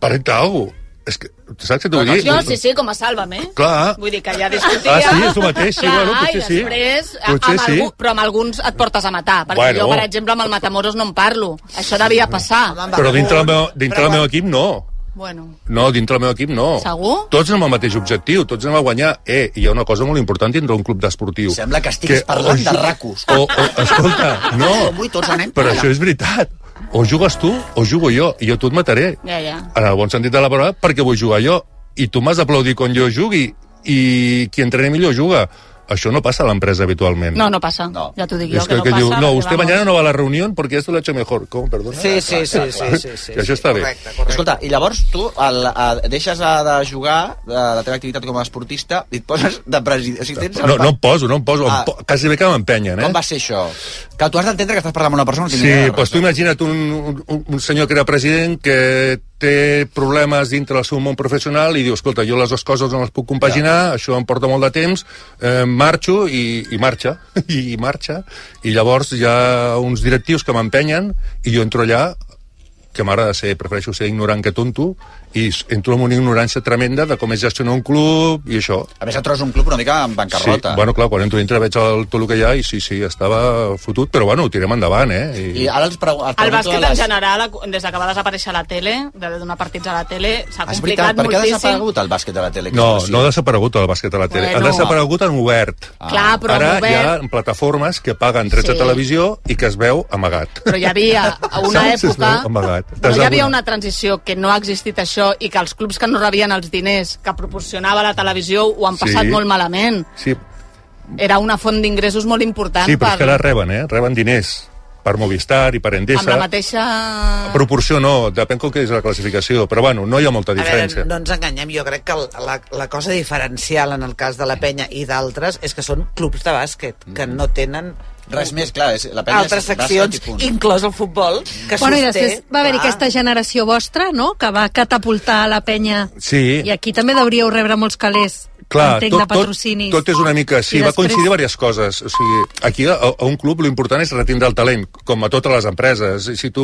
per entrar a alguna cosa. És que, saps què t'ho vull dir?
Jo, sí, sí, com a Sálvame. eh?
Clar.
Vull dir que ja discutia...
Ah, sí, és el mateix, sí,
Clar,
bueno, potser
i
sí.
després, a-
Potser
amb
sí.
algú, però amb alguns et portes a matar, perquè
Bueno.
jo, per exemple, amb el Matamoros no en parlo. Això devia passar.
Però dintre del meu, dintre del meu equip, no.
Bueno,
No, dintre del meu equip no.
Segur?
Tots amb el mateix objectiu, tots anem a guanyar. Eh, i hi ha una cosa molt important dintre d'un club d'esportiu.
Sembla que estiguis parlant de racos.
O, o, escolta, no,
Avui tots anem
però
allà.
això és veritat. O jugues tu o jugo jo, i jo tu et mataré.
ja, ja.
En el bon sentit de la paraula, perquè vull jugar jo. I tu m'has d'aplaudir quan jo jugui, i qui entreni millor juga. Això no passa a l'empresa habitualment.
No, no passa.
No.
Ja t'ho dic jo,
Es que,
no
que
passa.
diu, no,
perquè,
usted
vamos,
mañana no va a la reunión porque esto lo ha hecho mejor. ¿Cómo? Perdona.
Sí, sí, sí, sí, sí, sí,
I això està bé.
Correcte, correcte.
Escolta, i llavors tu el, a, deixes a, de jugar
eh,
de, la teva activitat com a esportista i et poses de president. O sigui, tens el
No,
pa-
no em poso, no em poso.
Ah.
Ah. Quasi bé que m'empenyen, eh?
Com va ser això? Que tu has d'entendre que estàs parlant amb una persona que no
Sí,
té ni idea de
doncs pues tu
res.
imagina't un, un, un senyor que era president que té problemes dintre del seu món professional i diu, escolta, jo les dues coses no les puc compaginar, ja. això em porta molt de temps, eh, marxo i, i marxa, i, marxa. I llavors hi ha uns directius que m'empenyen i jo entro allà que m'agrada ser, prefereixo ser ignorant que tonto, i s- entro en una ignorància tremenda de com és gestionar un club i això.
A més, et trobes un club una mica en bancarrota.
Sí, bueno, clar, quan entro dintre veig el, tot el que hi ha i sí, sí, estava fotut, però bueno, ho tirem endavant, eh?
I ara els pregu- et
El
pregunto
bàsquet
a
en
les-
general, des que va desaparèixer la tele, de donar partits a la tele, s'ha
És
complicat
veritat, per què ha
moltíssim.
desaparegut el bàsquet de la tele?
No, no ha desaparegut el bàsquet a la tele.
Bueno.
Ha desaparegut en obert.
Ah. Clar, però en
Ara
obert-
hi ha plataformes que paguen drets
Sí.
sí. a televisió i que es veu amagat.
Però hi havia una
Saps? Es
època...
veu amagat.
Però hi havia
Desabonat.
una transició que no ha existit això i que els clubs que no rebien els diners que proporcionava la televisió ho han
Sí.
passat molt malament.
Sí,
Era una font d'ingressos molt important
sí però
per,
és que ara reben, eh? Reben diners per Movistar i per
amb la
Endesa.
mateixa...
Proporció no, depèn com que és la classificació, però bueno, no hi ha molta
A veure,
diferència.
no ens enganyem, jo crec que la, la cosa diferencial en el cas de la penya i d'altres és que són clubs de bàsquet, que
Mm.
no tenen
Res més, clar, és, la penya
altres
és bàsquet
seccions,
i punt.
inclòs el futbol, que
bueno, i
sosté...
després va haver aquesta generació vostra, no?, que va catapultar la penya.
Sí.
I aquí també deuríeu rebre molts calés,
Clar,
entenc,
tot,
de patrocinis.
tot, tot és una mica... Sí, després...
I
va
després-
coincidir diverses coses. O sigui, aquí a, a un club l'important és retindre el talent, com a totes les empreses. Si tu...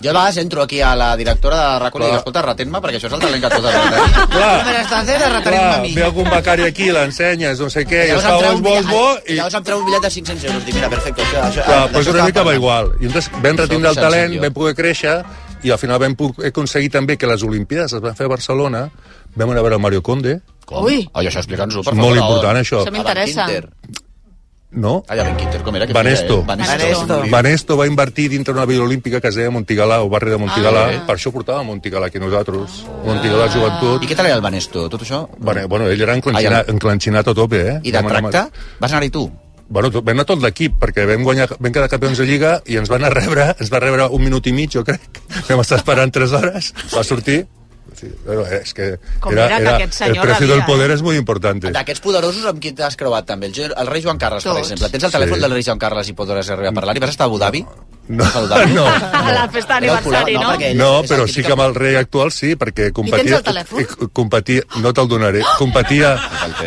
Jo a vegades entro aquí a la directora de RACO i dic,
Clar.
escolta, retén-me, perquè això és el talent que tu has
Clar.
Però estàs fent de retén-me a
Clar,
mi.
ve algun becari aquí, l'ensenyes, no sé què, i es fa
em treu
uns bons,
bitllet-
bons,
i... llavors em treu un bitllet de 500 euros. Dic, mira, perfecte, això... això
Clar,
d'això
però és
estava
una mica va
parlant.
igual. I llavors vam retindre el
Sóc
talent,
senzill.
vam poder créixer, i al final vam pu- aconseguir també que les Olimpíades es van fer a Barcelona, vam anar a veure Mario Conde,
Com?
Ui.
Oi, això explica'ns-ho, per
És
favor.
molt
a on?
important, això. Això
m'interessa.
A Bankinter.
no?
Allà, Bankinter, com era? Que
Banesto.
feia, eh? Banesto.
Banesto va invertir dintre una vila olímpica que es deia Montigalà, o barri de Montigalà, ah. per això portava Montigalà aquí nosaltres, Montigalà Joventut.
Ah. I què tal era el Banesto? Tot això?
Bueno, bueno, ell era
Ah,
enclenxinat,
ja.
enclenxinat a tope, eh?
I de
Vam anar-
tracte? Vas anar-hi tu?
Bueno, tot, vam anar tot l'equip, perquè vam, guanyar, vam quedar campions de Lliga i ens van a rebre, ens va rebre un minut i mig, jo crec. Vam estar esperant 3 hores, va sortir... Sí, bueno, és que
Com era que aquest senyor
el precio
rebia,
del poder és molt important.
D'aquests poderosos amb qui t'has creuat també? El, ge- el rei Joan Carles, per
Tots.
exemple. Tens el telèfon
Sí.
del rei Joan Carles i podràs arribar a parlar? I vas estar a Abu Dhabi?
No,
Abu Dhabi?
no.
A la festa
Era el
d'aniversari,
programa,
no?
no, perquè ell
No,
és el
però
típic
sí que amb el rei actual sí, perquè competia...
el telèfon?
eh, Competia, no te'l donaré. Competia,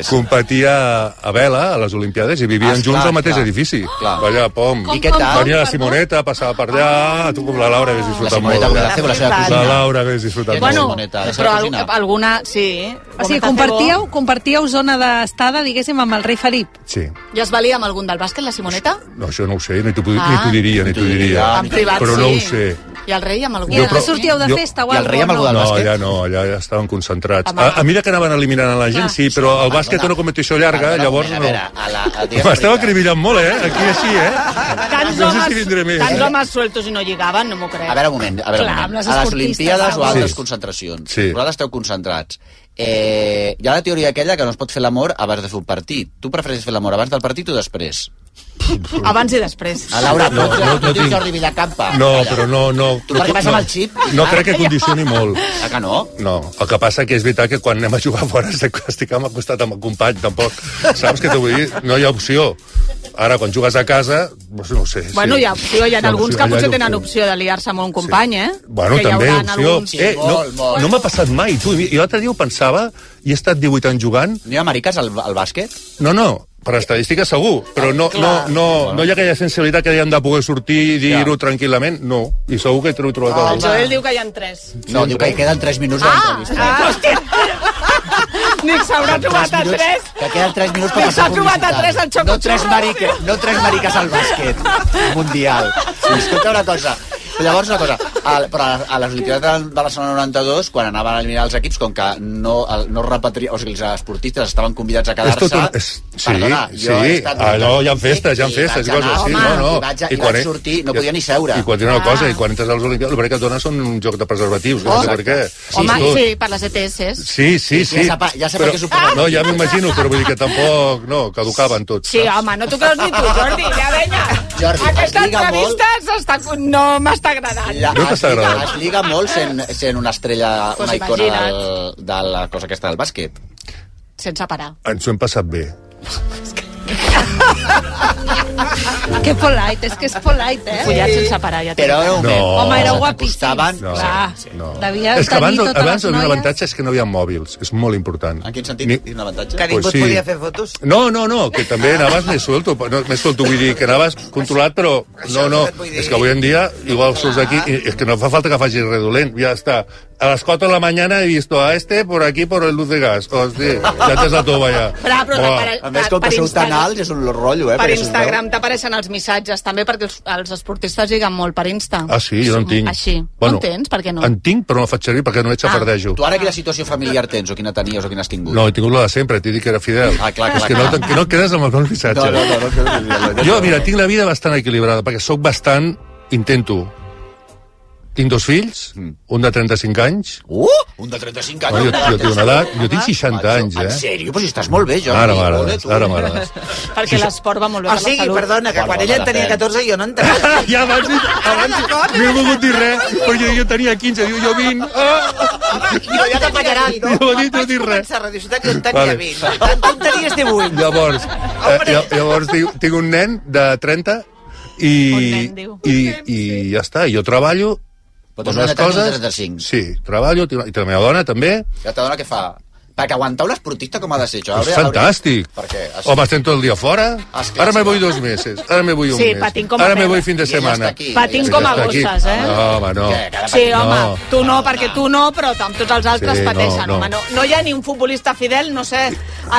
competia a vela a les Olimpiades i vivien
Ah,
junts
clar,
al mateix
clar.
edifici.
Clar.
Allà, pom.
Com, I què com, tal?
Venia la Simoneta, passava per allà, tu com la Laura hagués disfrutat
Simoneta
molt.
Golazo, la seva cosina.
la Laura hagués disfrutat
Bueno,
molt.
però al, alguna... Sí.
O sigui, compartíeu, compartíeu zona d'estada, diguéssim, amb el rei Felip.
Sí.
Ja es valia amb algun del bàsquet, la Simoneta?
No, això no ho sé, ni t'ho pod-
Ah.
ni t'ho diria, ni t'ho
Ah,
diria.
En privat,
però no
sí.
ho sé.
I el rei amb algun?
Jo, però- jo-
del
no,
bàsquet?
allà no, allà ja estaven concentrats.
Home.
A, a mira que anaven eliminant a la gent, sí, però el bàsquet té una competició llarga,
Perdona,
llavors
a
no.
veure, a la- a- digues la
M'estava acribillant molt, eh? Aquí així, eh?
Tants
No sé
homes,
si vindré més. eh?
tants homes sueltos i no lligaven, no m'ho crec.
A veure, un moment, a veure,
Clar,
un
amb les
moment. A les
esportistes,
Olimpiades o a
vamos.
altres
Sí.
concentracions.
Sí.
Vosaltres esteu concentrats. Eh, hi ha la teoria aquella que no es pot fer l'amor abans de fer un partit. Tu prefereixes fer l'amor abans del partit o després?
Abans i després.
A Laura, no, no, no, no
tinc-
Jordi Villacampa.
No, però no... no
Tu perquè vas amb el xip?
No crec que condicioni molt.
Ah, que no?
No, el que passa que és veritat que quan anem a jugar fora sé que estic al costat amb el company, tampoc. Saps què t'ho vull dir? No hi ha opció. Ara, quan jugues a casa, doncs no ho sé.
Bueno,
sí.
hi ha opció, hi ha
No,
alguns
sí,
que
allà hi ha
potser tenen
opció.
opció de liar-se amb un company, eh?
Bueno,
que hi
també,
hauran
opció.
alguns-
eh, no, no m'ha passat mai, tu. I l'altre dia ho pensava, i he estat 18 anys jugant.
No hi ha mariques al, al bàsquet?
No, no, per estadística segur, però no, no, no, no hi ha aquella sensibilitat que dèiem de poder sortir i dir-ho tranquil·lament, no. I segur que t'ho he trobat
El
algú.
Joel diu que hi ha tres.
No, diu que hi queden 3 minuts de l'entrevista.
Ah, hòstia! Nick s'haurà trobat a tres.
Que queden 3 minuts per
Nick
passar
s'ha trobat a
publicitat.
tres al xoc.
No tres, marica, no tres mariques al bàsquet mundial. Sí, escolta una cosa. Llavors, una cosa, al, però a, a les Olimpiades de de Barcelona 92, quan anaven a eliminar els equips, com que no, el, no repetria, o sigui, els esportistes estaven convidats a
És
quedar-se...
tot un... És... Sí,
Perdona,
sí,
jo he estat...
allò hi ha festes, hi ha festes i
vaig
coses, sí,
anar,
no, no.
i vaig- i vaig sortir, no podia ni seure. Ah.
I quan diu una cosa, i quan entres als Olimpiades, el primer que et donen són un joc de preservatius, que no sé per què.
Home,
Tot.
sí, per les E ETS.
Sí, sí, sí.
Ja sap- ja sap
Però-
que suposa.
No, ja m'imagino, però vull dir que tampoc... No, caducaven tots.
Sí, home, no t'ho creus ni tu, Jordi. Ja, venya.
Jordi,
Aquesta
es lliga
entrevista s'està- no m'està agradant.
La,
No t'està
es, lliga,
agradant.
es lliga molt sent, sent una estrella,
Pues
una icona del,
imagina't.
de la cosa aquesta del bàsquet.
Sense parar.
Ens ho hem passat bé.
Que polite, és que és polite, eh? Follat sense parar, ja
Però era un
No.
Home, éreu
No.
guapíssims.
No,
clar.
no.
Devia
és que
tenir
abans,
totes
abans
les
un
noies.
avantatge és que no hi havia mòbils. És molt important. En quin sentit? Ni...
Quin avantatge?
Que ningú et podia fer fotos.
No, no, no, que també anaves més suelto, però no, més suelto, vull dir, que anaves controlat, però no, no, és que avui en dia, igual surts d'aquí, i és que no fa falta que facis res dolent, ja està. A les 4 de la mañana he visto a este por aquí por el luz de gas. Hosti, ja t'has de tova ja.
Però, però
Buah.
t'apare-
A més, com
per
que sou tan
Instagram-
alts, és un rotllo, eh?
per
perquè si us veu-
Instagram t'apareixen els missatges també perquè els, els esportistes lliguen molt per Insta.
Ah, sí? Jo no en tinc.
Així. Bueno, no en tens? Per què no? Ah.
En tinc, però no faig servir perquè no ets xafardejo.
Tu ara quina situació familiar tens, o quina tenies, o quina has tingut?
No, he tingut la de sempre, t'he dit que era fidel.
Ah, clar, clar,
és que
clar.
no, que no et quedes amb els meus missatges.
No, no, no, no, no, no, no, no.
Jo, mira, tinc la vida bastant equilibrada, perquè sóc bastant... Intento. Tinc dos fills,
Mm.
un de 35 anys...
Uh! Un de 35 anys.
Bueno, jo, jo tinc una edat... Jo tinc 60 anys, eh?
En sèrio? Però si estàs molt bé, Jordi.
Ara
Ole,
m'agrades,
tu.
ara m'agrades.
Perquè l'esport va molt bé
O
Ah,
per la
sigui,
salut.
perdona, que quan
Perdona,
ella en tenia
depèn.
14 jo no en tenia.
ja abans, abans no he volgut dir res, però jo, jo tenia 15, diu jo 20. Ah!
Jo ja t'apanyaran.
no? No, dit, no dit res.
Començar a Radio Ciutat, jo en
Vale.
tenia 20. Per tant, tu en tenies 18.
Llavors, eh, lla- llavors tinc, tinc un nen de 30 i, i, i ja està, jo treballo
Però tens una edat de 35.
Sí, treballo, tinc una- i la meva dona també.
Ja t'adona què fa? Perquè aguantar un esportista com ha de ser, això.
És fantàstic.
Perquè... Ah,
Home, estem tot el dia fora. Ara me vull dos meses, ara me vull un
Sí,
mes.
patim com a
ara me
perra.
vull fin de
I ella
setmana.
està aquí,
Patim
Ella
com a
està aquí.
gosses, eh?
No, home, no.
Sí, home,
No.
tu no, perquè tu no, però amb tots els altres
Sí,
sí,
no,
pateixen,
no.
no, home. No, no hi ha ni un futbolista fidel, no sé,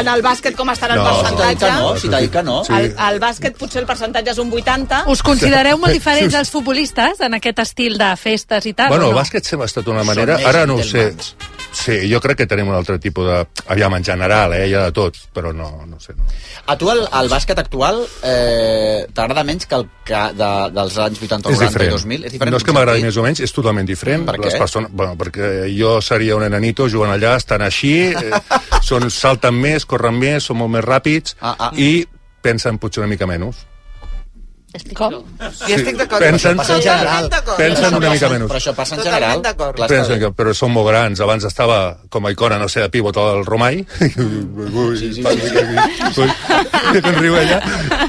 en el bàsquet com estarà el
No.
percentatge.
No, si t'ha dit que no.
Al, al bàsquet potser el percentatge és un 80.
Us considereu molt diferents dels futbolistes en aquest estil de festes i tal?
Bueno,
o
el
no?
bàsquet sempre ha estat una manera...
més
Ara no ho sé.
gentlemans.
Sí, jo crec que tenim un altre tipus de... Aviam, en general, eh? Hi ha de tot, però no, no ho sé. No.
A tu el, el bàsquet actual eh, t'agrada menys que el que de, dels anys 80, 90 i 2000?
No és que m'agradi més o menys, és totalment diferent.
Per
Les
què?
persones, bueno, perquè jo seria un enanito jugant allà, estan així, eh, són, salten més, corren més, són molt més ràpids
Ah, ah.
i pensen potser una mica menys.
Com?
Jo estic d'acord.
Pensen,
passa en general.
pensen una mica menys.
Però això passa en
Totalment
general.
d'acord.
Clar, està
Pensen
bé.
que, però són molt grans. Abans estava com a icona, no sé, de pivot al Romai. Ui, sí, sí, ella.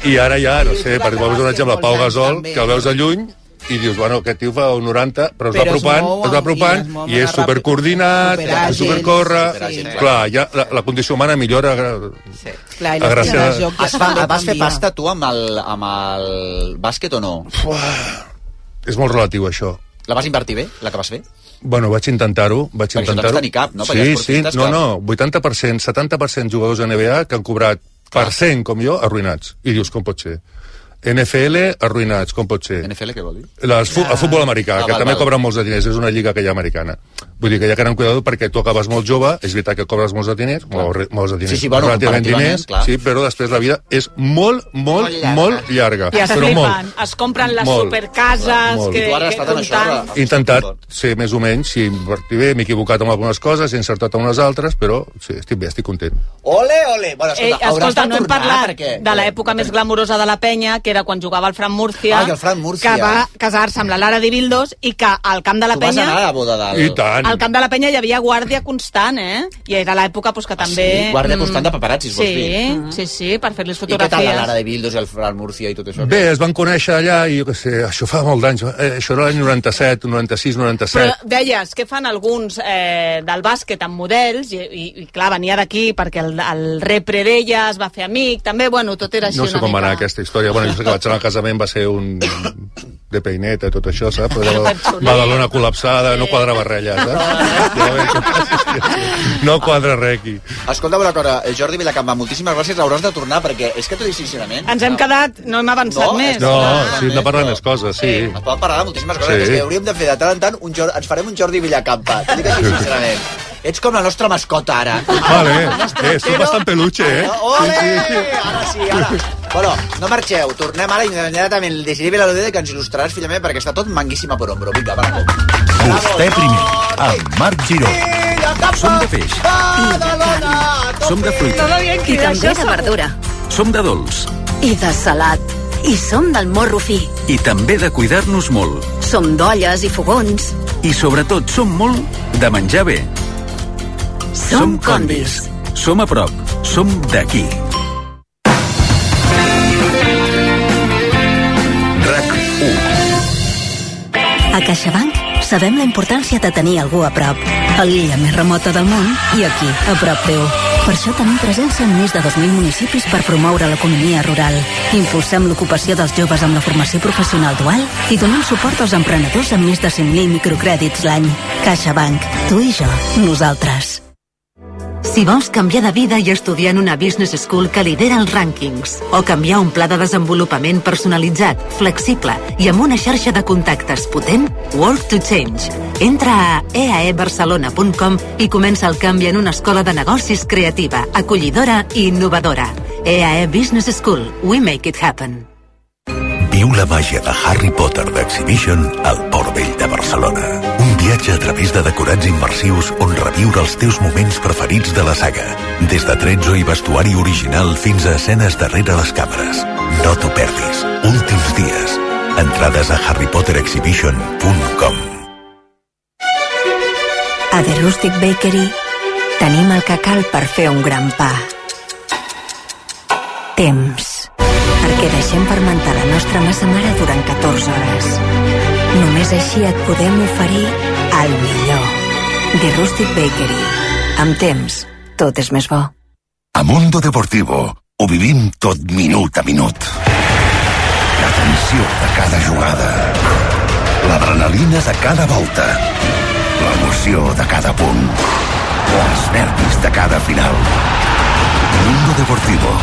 I ara ja, no sé, per exemple, un exemple, Pau Gasol, que el veus de lluny, i dius, bueno, aquest tio fa un 90, però es va
Però es
apropant,
mou
es
amb- i
va apropant,
es mou amb
i és
una ràpida-
supercoordinat,
superàgil,
supercorre...
superàgil, sí.
Clar, ja la, la condició humana millora...
Sí. Clar,
i les Gràcies. teles de joc
Es fa, vas fer pasta tu amb el, amb el bàsquet o no?
És molt relatiu, això.
La vas invertir bé, la que vas fer?
Bueno, vaig intentar-ho, vaig
Perquè això
intentar-ho.
no tens ni cap, no? Perquè hi ha
Sí, sí,
esportistes
no,
que-
no, 80%, 70% jugadors de NBA que han cobrat per cent, com jo, arruïnats. I dius, com pot ser? NFL, arruïnats, com pot ser?
NFL, què vol dir?
Les fu el futbol americà,
Ah,
que
val,
també
val.
cobren molts de diners, és una lliga que hi ha americana. Vull dir que ja que anem cuidado perquè tu acabes molt jove, és veritat que cobres molts de diners, molt, re- molts de diners,
Sí, sí, bueno,
relativament
comparativament,
diners,
clar.
sí, però després la vida és molt, molt,
Molt llarga.
molt llarga.
I es
però
flipen,
molt.
es compren les
Molt.
supercases...
Molt.
Que,
I tu ara has estat en això,
comptant.
ara.
He intentat ser més o menys, si invertir bé, m'he equivocat amb algunes coses, he encertat amb unes altres, però sí, estic bé, estic content.
Ole, ole! Bueno,
Ei,
escolta, hauràs
Eh, escolta,
de
no hem
tornar,
parlat
perquè- eh,
de l'època més glamurosa de la penya, que era quan jugava el Fran Múrcia,
Ai, el Fran Múrcia.
que va casar-se amb la Lara de Bildos i que al camp de la
Tu vas
penya...
anar a la boda del...
I tant.
Al camp de la penya hi havia guàrdia constant, eh? I era l'època pues, que també...
Ah, sí? Guàrdia
mm,
constant de paparazzis, vols
sí,
dir?
Sí, sí, per fer-los
I què
fotografies.
tal la Lara de Bildos i el Fran Murcia i tot això?
Bé, es van conèixer allà i jo què sé, això fa molt d'anys, eh, això era l'any 97, 96, 97.
Però deies que fan alguns eh, del bàsquet amb models, i, i, i clar, venia d'aquí perquè el, el repre d'ella es va fer amic, també, bueno, tot era així
no sé
una
com va
mica...
anar aquesta història. Bueno, jo sé que vaig anar al casament, va ser un de peineta i tot això, saps? Però Badalona col·lapsada, no quadrava res allà, saps? Ja veig què passa, sí. No quadra res aquí.
Escolta una cosa, eh, Jordi Vilacampa, moltíssimes gràcies, hauràs de tornar perquè és que t'ho dic sincerament...
Ens hem quedat, no hem avançat
No,
més.
No,
clar.
sí, hem de parlar més coses, sí.
Es poden parlar de moltíssimes coses,
Sí.
sí. és que hauríem de fer de tant en tant, un Jordi, ens farem un Jordi Villacampa, t'ho dic així sincerament. Ets com la nostra mascota ara.
Vale, eh, sóc bastant peluche, eh?
Ah, Ole! Ara sí, ara. Bueno, no marxeu, tornem ara immediatament. Decidim la Lodede que ens il·lustraràs, filla meva, perquè està tot manguíssima per ombro. Vinga, va, com.
Vostè primer, amb Marc Giró. Som de peix,
Ah,
Badalona!
som de fruita,
I també de verdura.
som de dolç
I de salat. I som del morro fi.
i també de cuidar-nos molt.
Som d'olles i fogons.
I sobretot som molt de menjar bé.
Som combis.
Som a prop, som d'aquí.
A CaixaBank sabem la importància de tenir algú a prop. A l'illa més remota del món i aquí, a prop teu. Per això tenim presència en més de 2.000 municipis per promoure l'economia rural. Impulsem l'ocupació dels joves amb la formació professional dual i donem suport als emprenedors amb més de 100.000 microcrèdits l'any. CaixaBank. Tu i jo. Nosaltres.
Si vols canviar de vida i estudiar en una business school que lidera els rànquings, o canviar un pla de desenvolupament personalitzat, flexible i amb una xarxa de contactes potent, Work to Change. Entra a eaebarcelona.com i comença el canvi en una escola de negocis creativa, acollidora i innovadora. EAE Business School. We make it happen.
Viu la màgia de Harry Potter d'Exhibition al Port Vell de Barcelona. Un viatge a través de decorats immersius on reviure els teus moments preferits de la saga. Des de tretzo i vestuari original fins a escenes darrere les càmeres. No t'ho perdis. Últims dies. Entrades a harrypoterexhibition.com
A The Rustic Bakery tenim el que cal per fer un gran pa. Temps. Perquè deixem fermentar la nostra massa mare durant 14 hores. Només així et podem oferir el millor. The Rustic Bakery. Amb temps, tot és més bo.
A Mundo Deportivo ho vivim tot minut a minut. La tensió de cada jugada. L'adrenalina de cada volta. L'emoció de cada punt. Els nervis de cada final. Mundo Deportivo.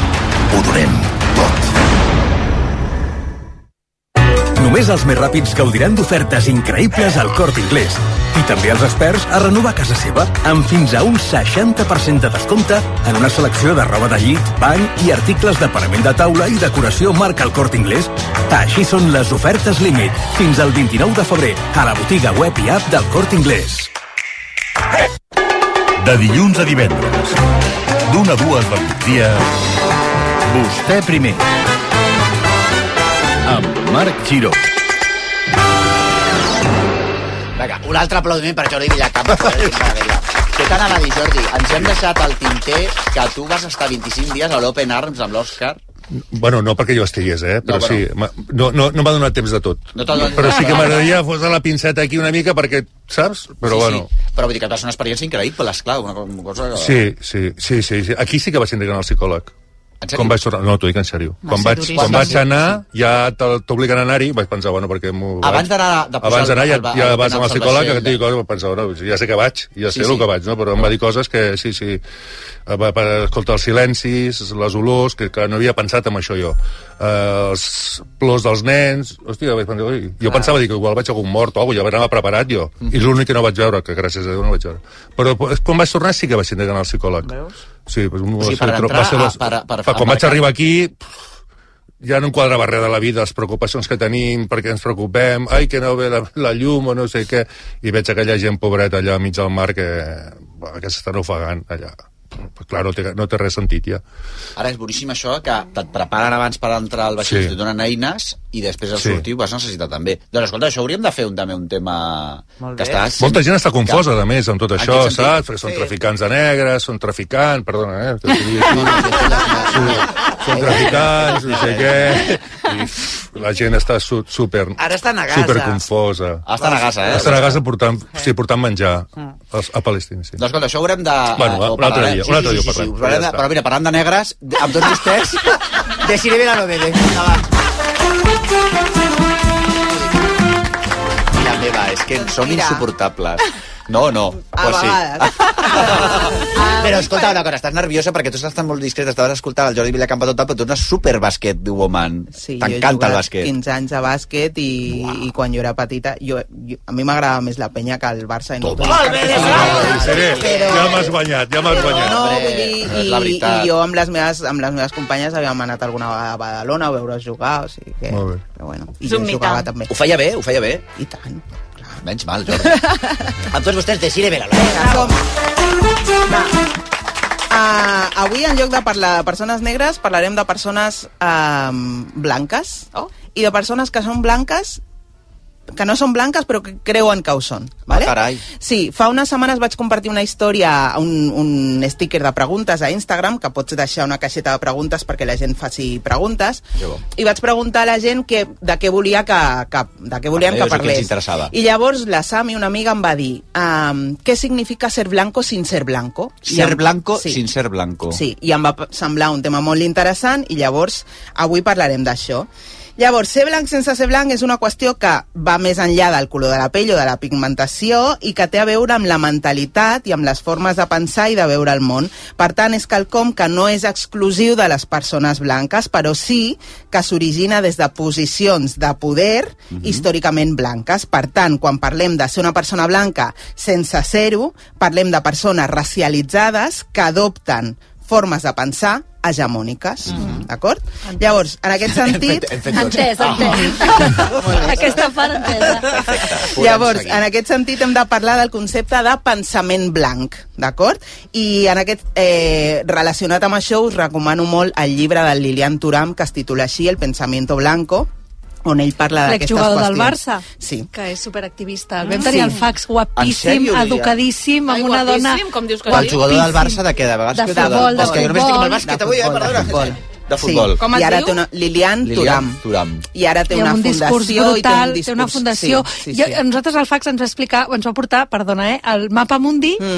Ho donem tot.
Només els més ràpids gaudiran d'ofertes increïbles al Corte Inglés. I també els experts a renovar casa seva amb fins a un 60% de descompte en una selecció de roba de llit, bany i articles de parament de taula i decoració marca el Corte Inglés. Així són les ofertes límit fins al 29 de febrer a la botiga web i app del Corte Inglés.
De dilluns a divendres, d'una a dues del migdia, vostè primer. Amb Marc Giró.
Vinga, un altre aplaudiment per Jordi Villacampa.
Què t'anava a dir, Jordi? Ens hem deixat al tinter que tu vas estar 25 dies a l'Open Arms amb l'Òscar.
Bueno, no perquè jo estigués, eh?
No,
Però no,
però-
sí, ma- no, no, no m'ha donat temps de tot.
No t'ha donat-
però sí que m'agradaria posar la pinceta aquí una mica perquè, saps? Però
sí,
bueno...
Sí. Però vull dir que va ser una experiència increïble, esclar, una co- cosa... que-
Sí, sí, sí, sí, sí. Aquí sí que vaig entregar el psicòleg.
sèrio?
Quan vaig tornar... No, t'ho dic en sèrio.
Va
Quan
ser
vaig,
duríssim.
quan vaig
Sí,
anar, ja te- t'obliguen a anar-hi, vaig pensar, bueno, perquè... m'ho vaig.
Abans d'anar- de posar
Abans d'anar
el-
ja,
el- el-
ja
el-
vas amb el
el
psicòleg que
vaixell,
et digui coses, vaig pensar, bueno, ja sé que vaig, ja
Sí,
sé sí,
sí.
el que vaig, no? Però em va dir coses que, sí, sí, eh, va, per escoltar els silencis, les olors, que, que no havia pensat en això jo. Eh, els plors dels nens... Hòstia, vaig pensar, ui, jo pensava, dic, igual vaig a algun mort o alguna cosa, ja anava preparat jo. I és l'únic que no vaig veure, que gràcies a Déu no vaig veure. Però eh, quan vaig tornar sí que vaig anar al psicòleg. Sí, pues,
O sigui, per entrar a- per- per-
fa, quan
a-
vaig arribar aquí pff, ja no em quadrava res de la vida, les preocupacions que tenim, perquè ens preocupem, ai, que no ve la, la llum o no sé què, i veig aquella gent pobreta allà mig del mar que, bah, que s'estan ofegant allà. Però, Clar, no té, no té res sentit ja.
Ara és boníssim això, que et preparen abans per entrar al vaixell,
Sí.
sí. et donen eines i després al
Sí.
sí. sortir ho vas necessitar també. Doncs escolta, això hauríem de fer un, també un tema...
Molt
Que
bé.
estàs...
Molta gent està confosa, a més, amb tot
En
això,
quin sentit?
saps? Perquè són
Sí.
traficants de negres, són traficants, perdona, eh? que t'ho digui així. Són- Són traficants, no sé què... I pff, la gent està su super...
Ara estan a Gaza.
Super confosa.
Ara estan a Gaza, eh?
Estan a Gaza portant, sí, portant menjar als- a Palestina, sí.
Doncs escolta, això haurem de...
Bueno,
eh, ho
un altre
parlarem.
dia, un altre dia ho
sí, sí,
parlem,
ho parlarem
ja
de-
està.
Però mira, parlant de negres, de- amb tots vostès...
Deixaré bé la novela.
La meva, és que són insuportables. No, no.
A
pues sí.
vegades.
Però escolta una cosa, estàs nerviosa perquè tu estàs tan molt discreta, estaves escoltant el Jordi Villacampa tot, però tu ets una superbasquet woman.
Sí, jo he
T'encanta
jugat
el bàsquet.
15 anys a bàsquet i, i quan jo era petita, jo, jo, a mi m'agradava més la penya que el Barça. I no Toma,
Seré, ja m'has guanyat, ja m'has guanyat.
No,
Eh,
vull dir, i, i jo amb les, meves, amb les meves companyes havíem anat alguna vegada a Badalona a veure jugar, o sigui que...
Molt bé.
Però bueno, i jo jugava també.
Ho feia bé, ho feia bé.
I tant.
Menys mal, Jordi. amb tots vostès, deixi-li bé la Lola.
Uh, avui, en lloc de parlar de persones negres, parlarem de ehm, persones um, blanques oh. i de persones que són blanques que no són blanques però que creuen que ho són. Vale?
Ah, carai.
Sí, fa unes setmanes vaig compartir una història, un, un sticker de preguntes a Instagram, que pots deixar una caixeta de preguntes perquè la gent faci preguntes, i vaig preguntar a la gent que, de què volia que, que, de què volien
Ah,
Em que
és el que els
parlés.
interessava.
I llavors la Sami, una amiga, em va dir um, què significa ser blanco sin ser blanco? I
Ser
em-
blanco sin ser blanco.
Sí, i em va semblar un tema molt interessant i llavors avui parlarem d'això. Llavors, ser blanc sense ser blanc és una qüestió que va més enllà del color de la pell o de la pigmentació i que té a veure amb la mentalitat i amb les formes de pensar i de veure el món. Per tant, és quelcom que no és exclusiu de les persones blanques, però sí que s'origina des de posicions de poder històricament blanques. Per tant, quan parlem de ser una persona blanca sense ser-ho, parlem de persones racialitzades que adopten formes de pensar hegemòniques, mm-hmm. d'acord? Llavors, en aquest sentit...
Mhm. Hem fet- Ah. hem fet tots. Entès, entès. Aquesta part entesa.
Podem
Llavors,
seguir.
en aquest sentit hem de parlar del concepte de pensament blanc, d'acord? I en aquest, eh, relacionat amb això us recomano molt el llibre del Lilian Turam que es titula així El pensamiento blanco, on ell parla d'aquestes
L'exjugador
qüestions.
del Barça,
Sí.
que és superactivista. El Ah, vam tenir
Sí.
al fax
En
guapíssim,
sèrio, Lídia?
educadíssim, amb una dona...
guapíssim, com dius que
El jugador del Barça de què? De
De
bàsquet?
futbol, de
És que jo només estic amb el
futbol.
bàsquet
De
avui, eh,
futbol, de
perdona. De
Sí.
futbol.
I ara té una... Lilian, Turam.
Lilian Turam.
I ara té
Té
una
un discurs
fundació i té un
brutal,
discurs...
té una fundació.
Sí, sí,
Jo-
sí.
a Nosaltres al fax ens va explicar, ens va portar, perdona, eh, el mapa mundi amb,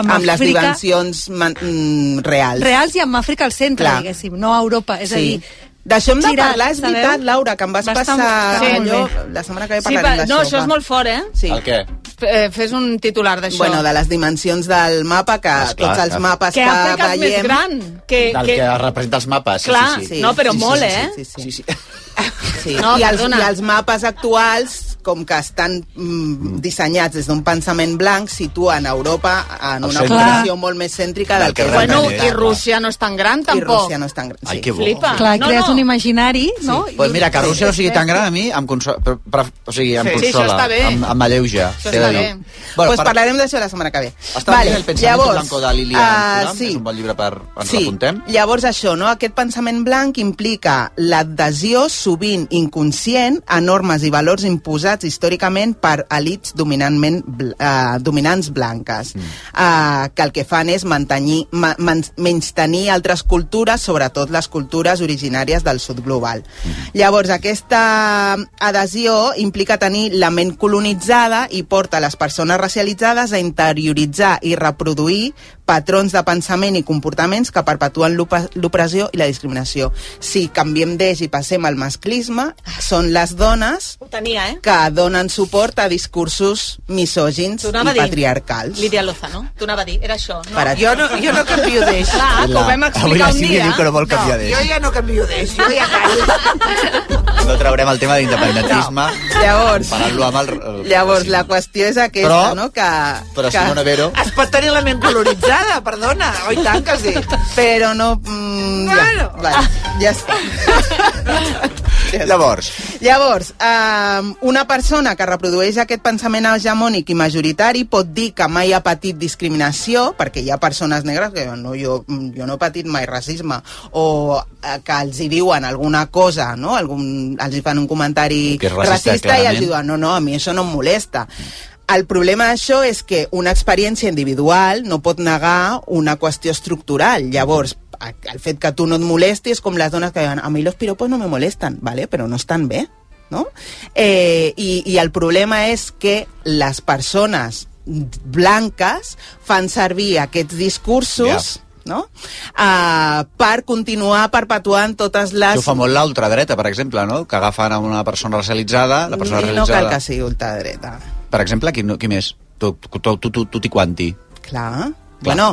Mm. amb les
Àfrica
dimensions man- mm, reals.
reals i amb Àfrica al centre,
Clar.
diguéssim, no a Europa. És a dir,
D'això hem de
girar,
parlar, és
sabeu?
veritat, Laura, que em vas
Va estar-
passar
estava molt
allò...
bé.
La setmana que ve
Sí,
parlarem
pa,
d'això.
no, això és
va.
molt fort, eh?
Sí.
El què?
F- eh, Fes un titular d'això.
Bueno, de les dimensions del mapa, que
Esclar,
tots els
clar.
mapes
que
que,
Àfrica és
veiem...
més gran. Que,
Del que representa els mapes. Sí,
Clar,
sí, sí.
no, però
Sí, sí,
molt,
sí,
eh?
sí, sí, sí.
Sí.
No,
I, els,
perdona.
I els mapes actuals, com que estan mm, dissenyats des d'un pensament blanc, situen Europa
Al
en una
centre.
posició molt més cèntrica del,
Del que
que...
Bueno,
realment
i Rússia no és tan gran, tampoc.
Rússia no és tan gran.
Ai, que bo.
Flipa.
clar,
Ah, No,
crees
no.
un imaginari, no? I
Pues
un-
mira, que Rússia no sigui tan gran a mi em consola, però, però, o sigui, em
Sí. Sí,
consola,
això està bé.
em, em alleuja.
Això
t'he de
està
dir.
bé.
Bueno,
Bueno,
pues parlarem d'això la setmana que ve. eh,
Està vale. el pensament Llavors, blanco de Lilia
ah,
uh, Turam, sí. és un bon llibre per... Ens sí. l'apuntem?
Llavors això, no? aquest pensament blanc implica l'adhesió sovint inconscient a normes i valors imposats històricament per elits dominantment bl eh, dominants blanques, mm. eh, que el que fan és mantenir, ma men menys tenir altres cultures, sobretot les cultures originàries del sud global. Llavors, aquesta adhesió implica tenir la ment colonitzada i porta les persones racialitzades a interioritzar i reproduir patrons de pensament i comportaments que perpetuen l'opa- l'opressió i la discriminació. Si canviem d'eix i passem al masclisme, són les dones
Ho tenia, eh?
que donen suport a discursos misògins
T'ho anava a
i
dir.
patriarcals.
Lídia Lozano, t'ho anava a dir, era això. No.
Per
Jo no, jo no canvio d'eix.
Clar, que ho vam
Avui
explicar
la
un
Sílvia
dia.
diu que no vol canviar
Jo
d'eix.
ja no canvio d'eix, jo ja canvio.
No traurem el tema d'independentisme,
Llavors,
comparant-lo amb el... el
llavors la qüestió és aquesta,
Però-
no? Que,
Però
que...
Simona Vero...
Es pot tenir la ment colonitzada, perdona. Oi tant que sí.
Però no... Mm,
Bueno.
ja, vale, ja està.
Llavors,
Ah, Llavors, eh, una persona que reprodueix aquest pensament hegemònic i majoritari pot dir que mai ha patit discriminació, perquè hi ha persones negres que diuen, no, jo, mm, jo no he patit mai racisme, o eh, que els hi diuen alguna cosa, no? Algun, els hi fan un comentari
Que és racista,
racista i els
clarament.
diuen, diuen, no, no, a mi això no em molesta. El problema d'això és que una experiència individual no pot negar una qüestió estructural. Llavors, a- el fet que tu no et molesti és com les dones que diuen a mi los piropos no me molestan, vale, però no estan bé, no? Eh, i, I el problema és que les persones blanques fan servir aquests discursos no? Uh, per continuar perpetuant totes les...
això ho fa molt l'ultradreta, per exemple, no? Que agafen a una persona racialitzada, la persona
no cal
racialitzada...
que sigui ultradreta.
Per exemple, qui, no- qui més? Tu, tu, tu, tu, tu, tu quanti.
Clar. Bueno,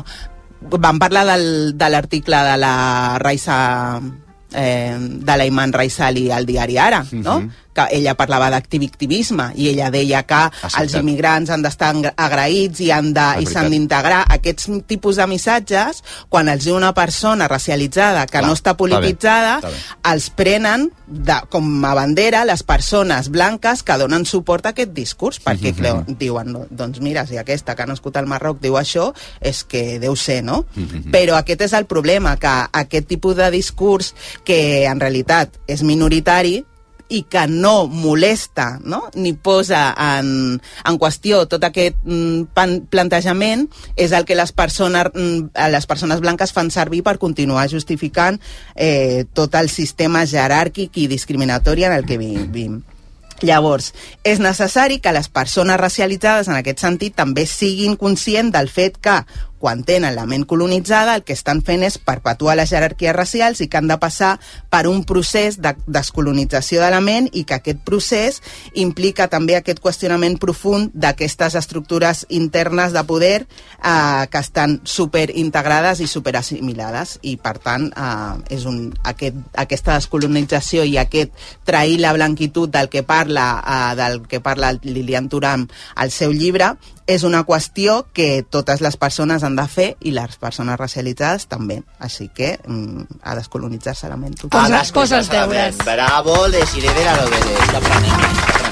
vam parlar del, de l'article de la Raisa eh, de la Iman Raisali al diari Ara, no?
Mhm.
que ella parlava d'activisme i ella deia que
Ah,
els immigrants han d'estar engra- agraïts i han de, i s'han
veritat.
d'integrar aquests tipus de missatges quan els diu una persona racialitzada que
Clar,
no
està
està
bé,
polititzada
està bé.
els prenen de, com a bandera les persones blanques que donen suport a aquest discurs, perquè creu, diuen, no, doncs mira, si aquesta que ha nascut al Marroc diu això, és que deu ser, no? Però aquest és el problema, que aquest tipus de discurs, que en realitat és minoritari, i que no molesta no? ni posa en, en qüestió tot aquest mm, pan, plantejament és el que les persones, mm, les persones blanques fan servir per continuar justificant eh, tot el sistema jeràrquic i discriminatori en el que vivim. Llavors, és necessari que les persones racialitzades en aquest sentit també siguin conscients del fet que quan tenen la ment colonitzada, el que estan fent és perpetuar les jerarquies racials i que han de passar per un procés de descolonització de la ment i que aquest procés implica també aquest qüestionament profund d'aquestes estructures internes de poder eh, que estan superintegrades i superassimilades i per tant eh, és un, aquest, aquesta descolonització i aquest trair la blanquitud del que parla eh, del que parla Lilian Turam al seu llibre és una qüestió que totes les persones han de fer i les persones racialitzades també. Així que mm, a descolonitzar-se la ment.
Ah,
Poses- poses deures.
Bravo, Desiree de la Lobedes. T'aprenem, t'aprenem.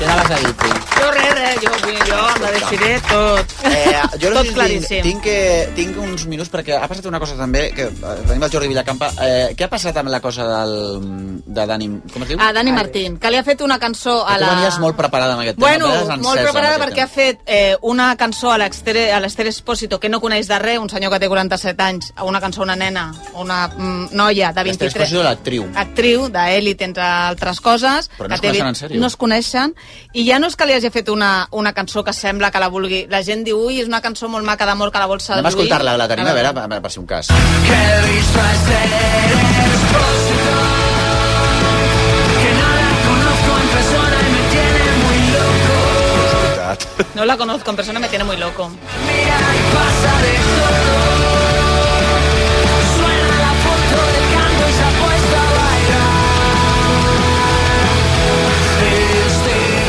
Què anaves a dir, tu?
Jo res, res, jo, vull- jo em la deixaré tot,
Ah, Eh, jo
tot
només
claríssim.
tinc,
Tinc,
tinc, que, tinc uns minuts perquè ha passat una cosa també, que eh, tenim el Jordi Villacampa. Eh, què ha passat amb la cosa del, de Dani... Com
Ah,
es diu?
A Ah, Dani Martín, que li ha fet una cançó a
Que Tu
la...
venies molt preparada amb aquest tema.
Bueno,
venies encesa
molt
amb
preparada
aquest
perquè ha fet eh, una cançó a l'extere- a l'Ester Espósito que no coneix de res, un senyor que té 47 anys, a una cançó a una nena, a una mm, noia de
tema. Esther
23...
Esposito, l'actriu.
Ah,
actriu d'Elit, entre altres coses.
Però
que
no es
té-
coneixen en sèrio.
No es coneixen. I ja no és que li hagi fet una, una cançó que sembla que la vulgui. La gent diu, ui, és una cançó molt maca d'amor que la vols seduir.
Anem a escoltar-la, la
Ah,
tenim, a veure, a veure, per si un cas.
No la conozco en persona, me tiene muy loco.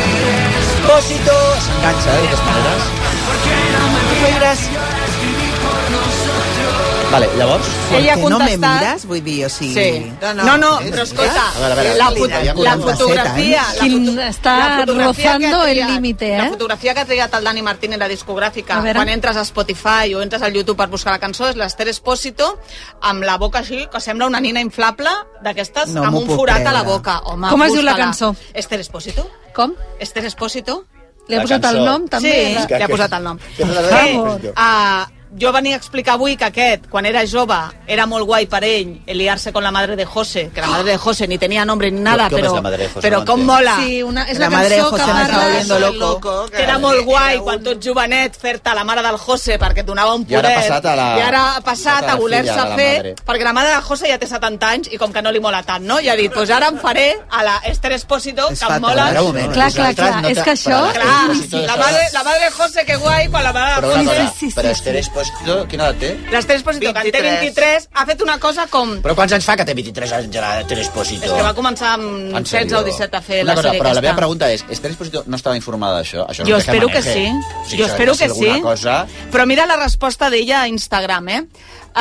Espósito! S'enganxa, eh, d'aquestes maneres. Vale, llavors...
Ella
Ella ha
no me
contestat-
mires, vull dir, o sigui...
Sí. No, no, però escolta,
A veure, a veure,
la,
sí,
foto-
aviam,
la
aviam.
fotografía... la
Quin
foto-
està
la fotografía que ha
rozando el
triat-
límite,
La
eh?
fotografia que ha triat el Dani Martín en la discogràfica,
A ¿eh? veure.
quan entres a Spotify o entres a YouTube per buscar la cançó, és l'Ester Espósito, amb la boca així, que sembla una nina inflable d'aquestes,
No
amb
m'ho
un
puc
forat a la
creure.
boca. Home,
Com es diu la
busca-la.
cançó?
Ester Espósito.
Com?
Ester Espósito.
Li ha La posat el cançó. nom, també?
Sí,
Que-
li ha
que-
posat el nom.
que-
Eh, ah, jo venia a explicar avui que aquest, quan era jove, era molt guai per ell liar-se con la madre de José, que la madre de José ni tenia nombre ni nada,
Com és
però,
la madre de José?
però
No
com
entenc.
mola.
Sí, una, és
La
la,
madre de
cançó
José
que
me
parla...
está volviendo loco.
Que era molt guai quan tot jovenet fer-te la mare del José perquè et donava un
I ara
poder.
ha passat a la-
I ara ha
a
passat
la
a voler-se
filla de la madre.
fer... Perquè la mare del José ja té 70 anys i com que no li mola tant, no? I ha dit, doncs pues ara em faré a la Esther Espósito, que em mola...
Espera un moment,
Clar, clar,
vosaltres
clar,
no
és
te-
que això... Ah,
Però
Clar,
Esther Esposito,
la
això-
madre, la madre de José, que guai, quan la mare...
Però
de
una
José...
cosa, però Esther Esposito, quina edat té?
L'Esther Espósito, que en té 23, ha fet una cosa com...
Però quants anys fa que té 23 anys la Esther Esposito?
És que va començar amb
En
16
sèrio?
o 17 a fer
Una
la
cosa,
sèrie
però la
aquesta.
meva pregunta és, Esther Esposito no estava informada d'això? Això
Jo
no té cap
espero que
maneje.
sí.
O sigui,
Jo
s'ha de
espero
fer
que
alguna
sí.
Cosa...
Pero mira la respuesta de ella a Instagram, ¿eh?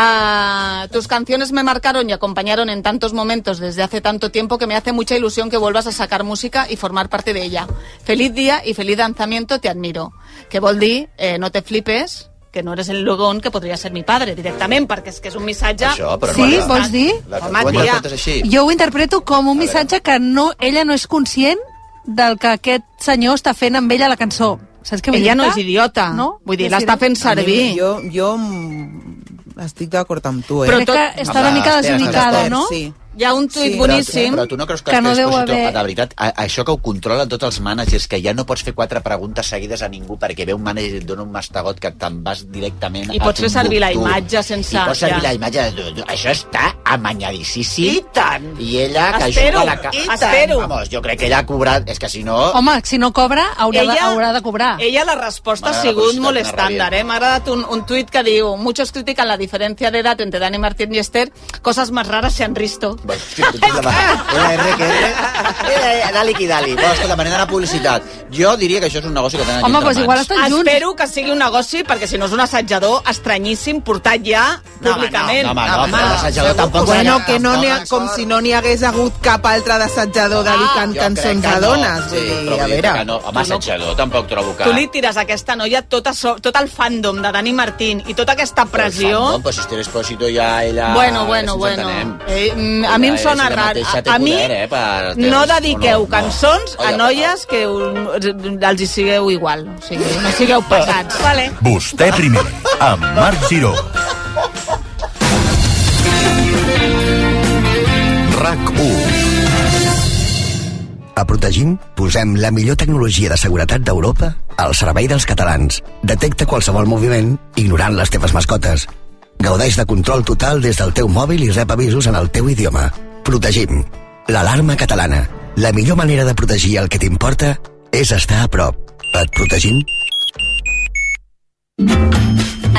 Ah, tus canciones me marcaron y acompañaron en tantos momentos desde hace tanto tiempo que me hace mucha ilusión que vuelvas a sacar música y formar parte de ella. Feliz día y feliz lanzamiento, te admiro. Que Boldi, eh, no te flipes, que no eres el logón que podría ser mi padre directament, perquè és que és un missatge...
Això, però
Sí,
no
vols dir?
La,
Home,
la, la,
tia.
la, la, així.
Jo ho interpreto com un missatge que no, ella no és conscient del que aquest senyor està fent amb ella a la cançó. Saps què vull
Ella
dir-te?
no és idiota.
No?
Vull dir,
És
l'està
idiota.
fent servir.
Jo, jo mm, estic d'acord amb tu,
pues,
eh?
Però tot... que està una mica
espera,
desubicada,
espera,
no?
Sí.
Hi ha un tuit
Sí.
boníssim...
Però tu no creus que,
Que no
Esther
deu
Esposito,
haver-
de veritat, a, això que ho controlen tots els mànagers, que ja no pots fer quatre preguntes seguides a ningú perquè ve un mànager i et dona un mastegot que te'n vas directament
I
a
pots fer servir la
Timbuktu.
imatge sense-
I pots servir
ja.
la imatge... de- de- Això està amanyadíssim.
I tant!
I ella que
Espero,
juga a la... ca-
i espero.
Vamos, jo crec que ella ha cobrat... És que si no...
Home, si no cobra, haurà, de,
Ella- Eh,
haurà de cobrar.
Ella la resposta ha
M'agrada
sigut
publicitat,
molt
una
estàndard,
ràbia.
eh? M'ha agradat un, un tuit que diu muchos critican la diferència d'edat entre Dani Martín i Esther, cosas más raras se han risto.
Bueno, sí, tu tens la- Era R que R. Era Dali qui dali. Bueno, escolta, me n'he d'anar a publicitat. Jo diria que això és un negoci que tenen aquí
Home,
entre
doncs igual
mans.
estan junts.
Espero que sigui un negoci, perquè si no és un assetjador estranyíssim portat ja
No, home,
públicament.
no, home, no, però l'assajador tampoc
Bueno,
serà-
que no n'hi ha,
tampoc-
com si no n'hi hagués hagut cap altre d'assetjador dedicant
Ah. Jo crec
cançons
que
a
no,
dones.
Sí, però
vull dir, a
vull dir
veure...
que no, home, assetjador, tampoc trobo que...
Tu li tires a aquesta noia tot, a so, tot el fandom de Dani Martín i tota aquesta pressió... Ah,
Però, el fandom, però si Esther Espósito ja ella...
Bueno, bueno,
ens
bueno.
entenem.
Eh, mm, a mi em sona rar. A, a mi no dediqueu cançons a noies que un- els hi sigueu igual. O sigui, no sigueu pesats. Vale.
Vostè primer, amb Marc Giró.
RAC 1 A Protegim posem la millor tecnologia de seguretat d'Europa al servei dels catalans. Detecta qualsevol moviment ignorant les teves mascotes. Gaudeix de control total des del teu mòbil i rep avisos en el teu idioma. Protegim. L'alarma catalana. La millor manera de protegir el que t'importa és estar a prop. Et protegim?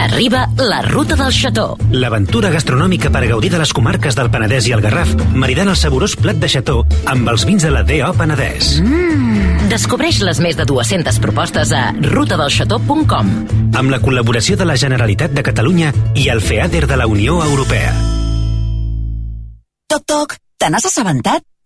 Arriba la Ruta del Xató.
L'aventura gastronòmica per gaudir de les comarques del Penedès i el Garraf, maridant el saborós plat de xató amb els vins de la D.O. Penedès.
Mm. Descobreix les més de 200 propostes a rutadelxató.com.
Amb la col·laboració de la Generalitat de Catalunya i el FEADER de la Unió Europea.
Toc, toc, te n'has assabentat?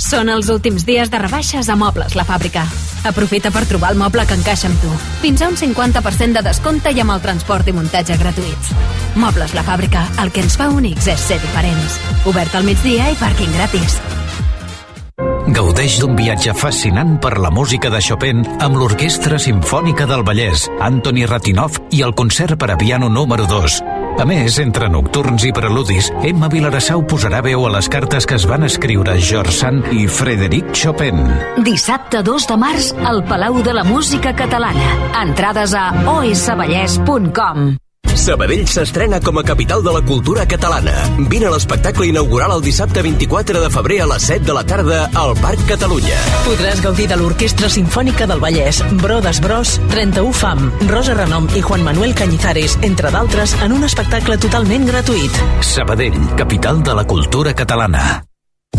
Són els últims dies de rebaixes a Mobles La Fàbrica. Aprofita per trobar el moble que encaixa amb tu. Fins a un 50% de descompte i amb el transport i muntatge gratuïts. Mobles La Fàbrica, el que ens fa únics és ser diferents. Obert al migdia i pàrquing gratis.
Gaudeix d'un viatge fascinant per la música de Chopin amb l'Orquestra Simfònica del Vallès, Antoni Ratinov i el concert per a piano número 2. A més, entre nocturns i preludis, Emma Vilarassau posarà veu a les cartes que es van escriure George Sand i Frederic Chopin.
Dissabte 2 de març al Palau de la Música Catalana. Entrades a osvallès.com.
Sabadell s'estrena com a capital de la cultura catalana. Vine a l'espectacle inaugural el dissabte 24 de febrer a les 7 de la tarda al Parc Catalunya.
Podràs gaudir de l'Orquestra Simfònica del Vallès, Brodes Bros, 31 Fam, Rosa Renom i Juan Manuel Cañizares, entre d'altres, en un espectacle totalment gratuït.
Sabadell, capital de la cultura catalana.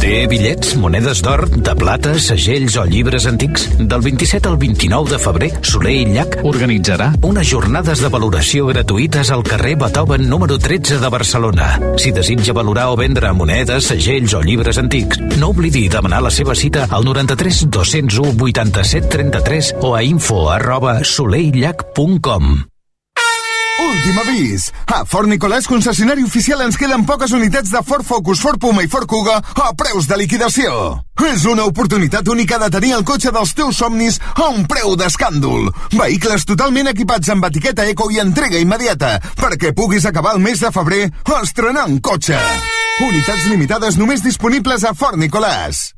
Té bitllets, monedes d'or, de plata, segells o llibres antics? Del 27 al 29 de febrer, Soler i Llach organitzarà unes jornades de valoració gratuïtes al carrer Beethoven número 13 de Barcelona. Si desitja valorar o vendre monedes, segells o llibres antics, no oblidi demanar la seva cita al 93 201 87 33 o a info arroba soleillac.com.
Últim avís. A Fort Nicolàs, concessionari oficial, ens queden poques unitats de Ford Focus, Ford Puma i Ford Kuga a preus de liquidació. És una oportunitat única de tenir el cotxe dels teus somnis a un preu d'escàndol. Vehicles totalment equipats amb etiqueta eco i entrega immediata perquè puguis acabar el mes de febrer estrenant cotxe. Unitats limitades només disponibles a Fort Nicolàs.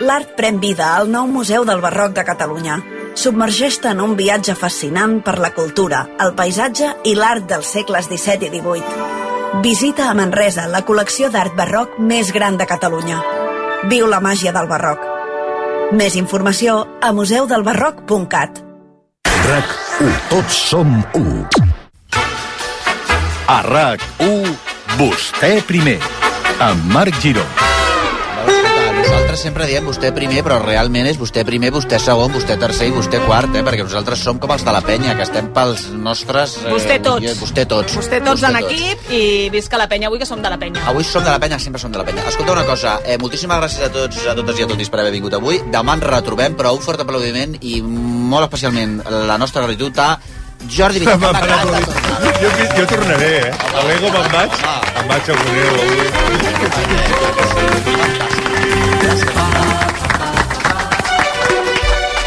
L'art pren vida al nou Museu del Barroc de Catalunya. Submergeix-te en un viatge fascinant per la cultura, el paisatge i l'art dels segles XVII i XVIII. Visita a Manresa la col·lecció d'art barroc més gran de Catalunya. Viu la màgia del barroc. Més informació a museudelbarroc.cat.
RAC 1. Tots som 1. A RAC 1, vostè primer. Amb Marc Giró.
Nosaltres sempre diem vostè primer, però realment és vostè primer, vostè segon, vostè tercer i vostè quart, eh? perquè nosaltres som com els de la penya, que estem pels nostres...
Vostè tots.
i- Vostè tots.
Vostè tots en equip i visca la penya avui, que som de la penya.
Avui som de la penya, sempre som de la penya. Escolta una cosa, eh, moltíssimes gràcies a tots, a totes i a tots per haver vingut avui. Demà ens retrobem, però un fort aplaudiment i molt especialment la nostra gratitud a Jordi Villalba.
Jo, jo tornaré, eh? A l'ego me'n vaig,
Ah.
em vaig a voler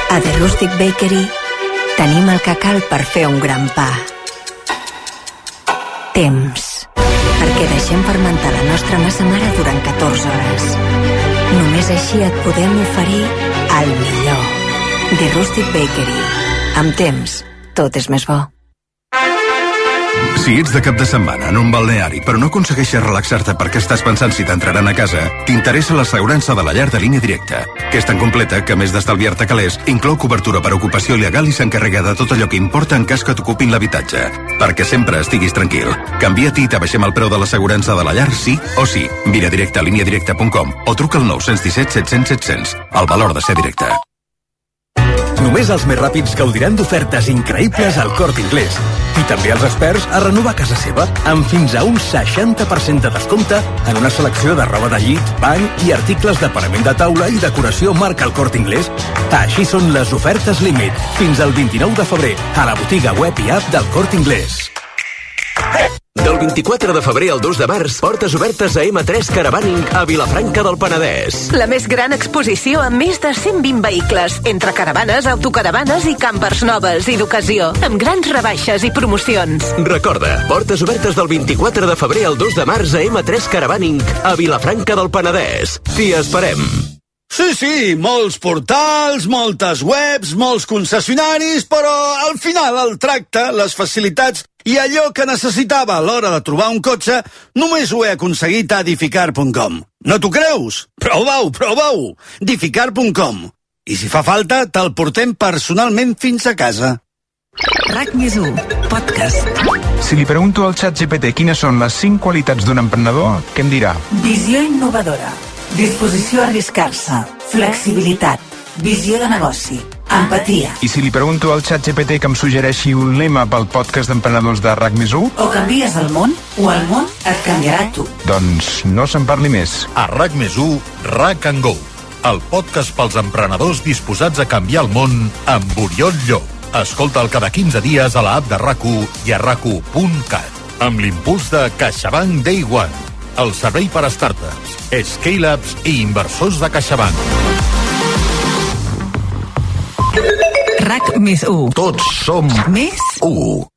A The Rustic Bakery tenim el que cal per fer un gran pa. Temps. Perquè deixem fermentar la nostra massa mare durant 14 hores. Només així et podem oferir el millor. The Rustic Bakery. Amb temps, tot és més bo.
Si ets de cap de setmana en un balneari però no aconsegueixes relaxar-te perquè estàs pensant si t'entraran a casa, t'interessa l'assegurança de la llar de línia directa, que és tan completa que, a més d'estalviar-te calés, inclou cobertura per ocupació il·legal i s'encarrega de tot allò que importa en cas que t'ocupin l'habitatge. Perquè sempre estiguis tranquil. Canvia-t'hi i t'abaixem el preu de l'assegurança de la llar sí o sí. Vine directe a líniadirecta.com o truca al 917 700 700. El valor de ser directe.
Només els més ràpids gaudiran d'ofertes increïbles al Corte Inglés. I també els experts a renovar casa seva amb fins a un 60% de descompte en una selecció de roba de llit, bany i articles de parament de taula i decoració marca el Corte Inglés. Així són les ofertes límit fins al 29 de febrer a la botiga web i app del Corte Inglés.
Del 24 de febrer al 2 de març, portes obertes a M3 Caravaning a Vilafranca del Penedès.
La més gran exposició amb més de 120 vehicles, entre caravanes, autocaravanes i campers noves i d'ocasió, amb grans rebaixes i promocions.
Recorda, portes obertes del 24 de febrer al 2 de març a M3 Caravaning a Vilafranca del Penedès. T'hi esperem.
Sí, sí, molts portals, moltes webs, molts concessionaris, però al final el tracte, les facilitats i allò que necessitava a l'hora de trobar un cotxe només ho he aconseguit a edificar.com. No t'ho creus? Prova-ho, prova-ho! edificar.com. I si fa falta, te'l portem personalment fins a casa.
RAC més 1, podcast.
Si li pregunto al xat GPT quines són les 5 qualitats d'un emprenedor, què em dirà?
Visió innovadora, disposició a arriscar-se, flexibilitat, visió de negoci, empatia.
I si li pregunto al xat GPT que em suggereixi un lema pel podcast d'emprenedors de RAC més 1,
O canvies el món, o el món et canviarà a tu.
doncs no se'n parli més.
A RAC més 1, RAC and Go, el podcast pels emprenedors disposats a canviar el món amb Oriol Llop. Escolta'l cada 15 dies a la app de rac i a rac amb l'impuls de CaixaBank Day One, el servei per a startups, scale-ups i inversors de CaixaBank.
RAC més 1.
Tots som
Més
1.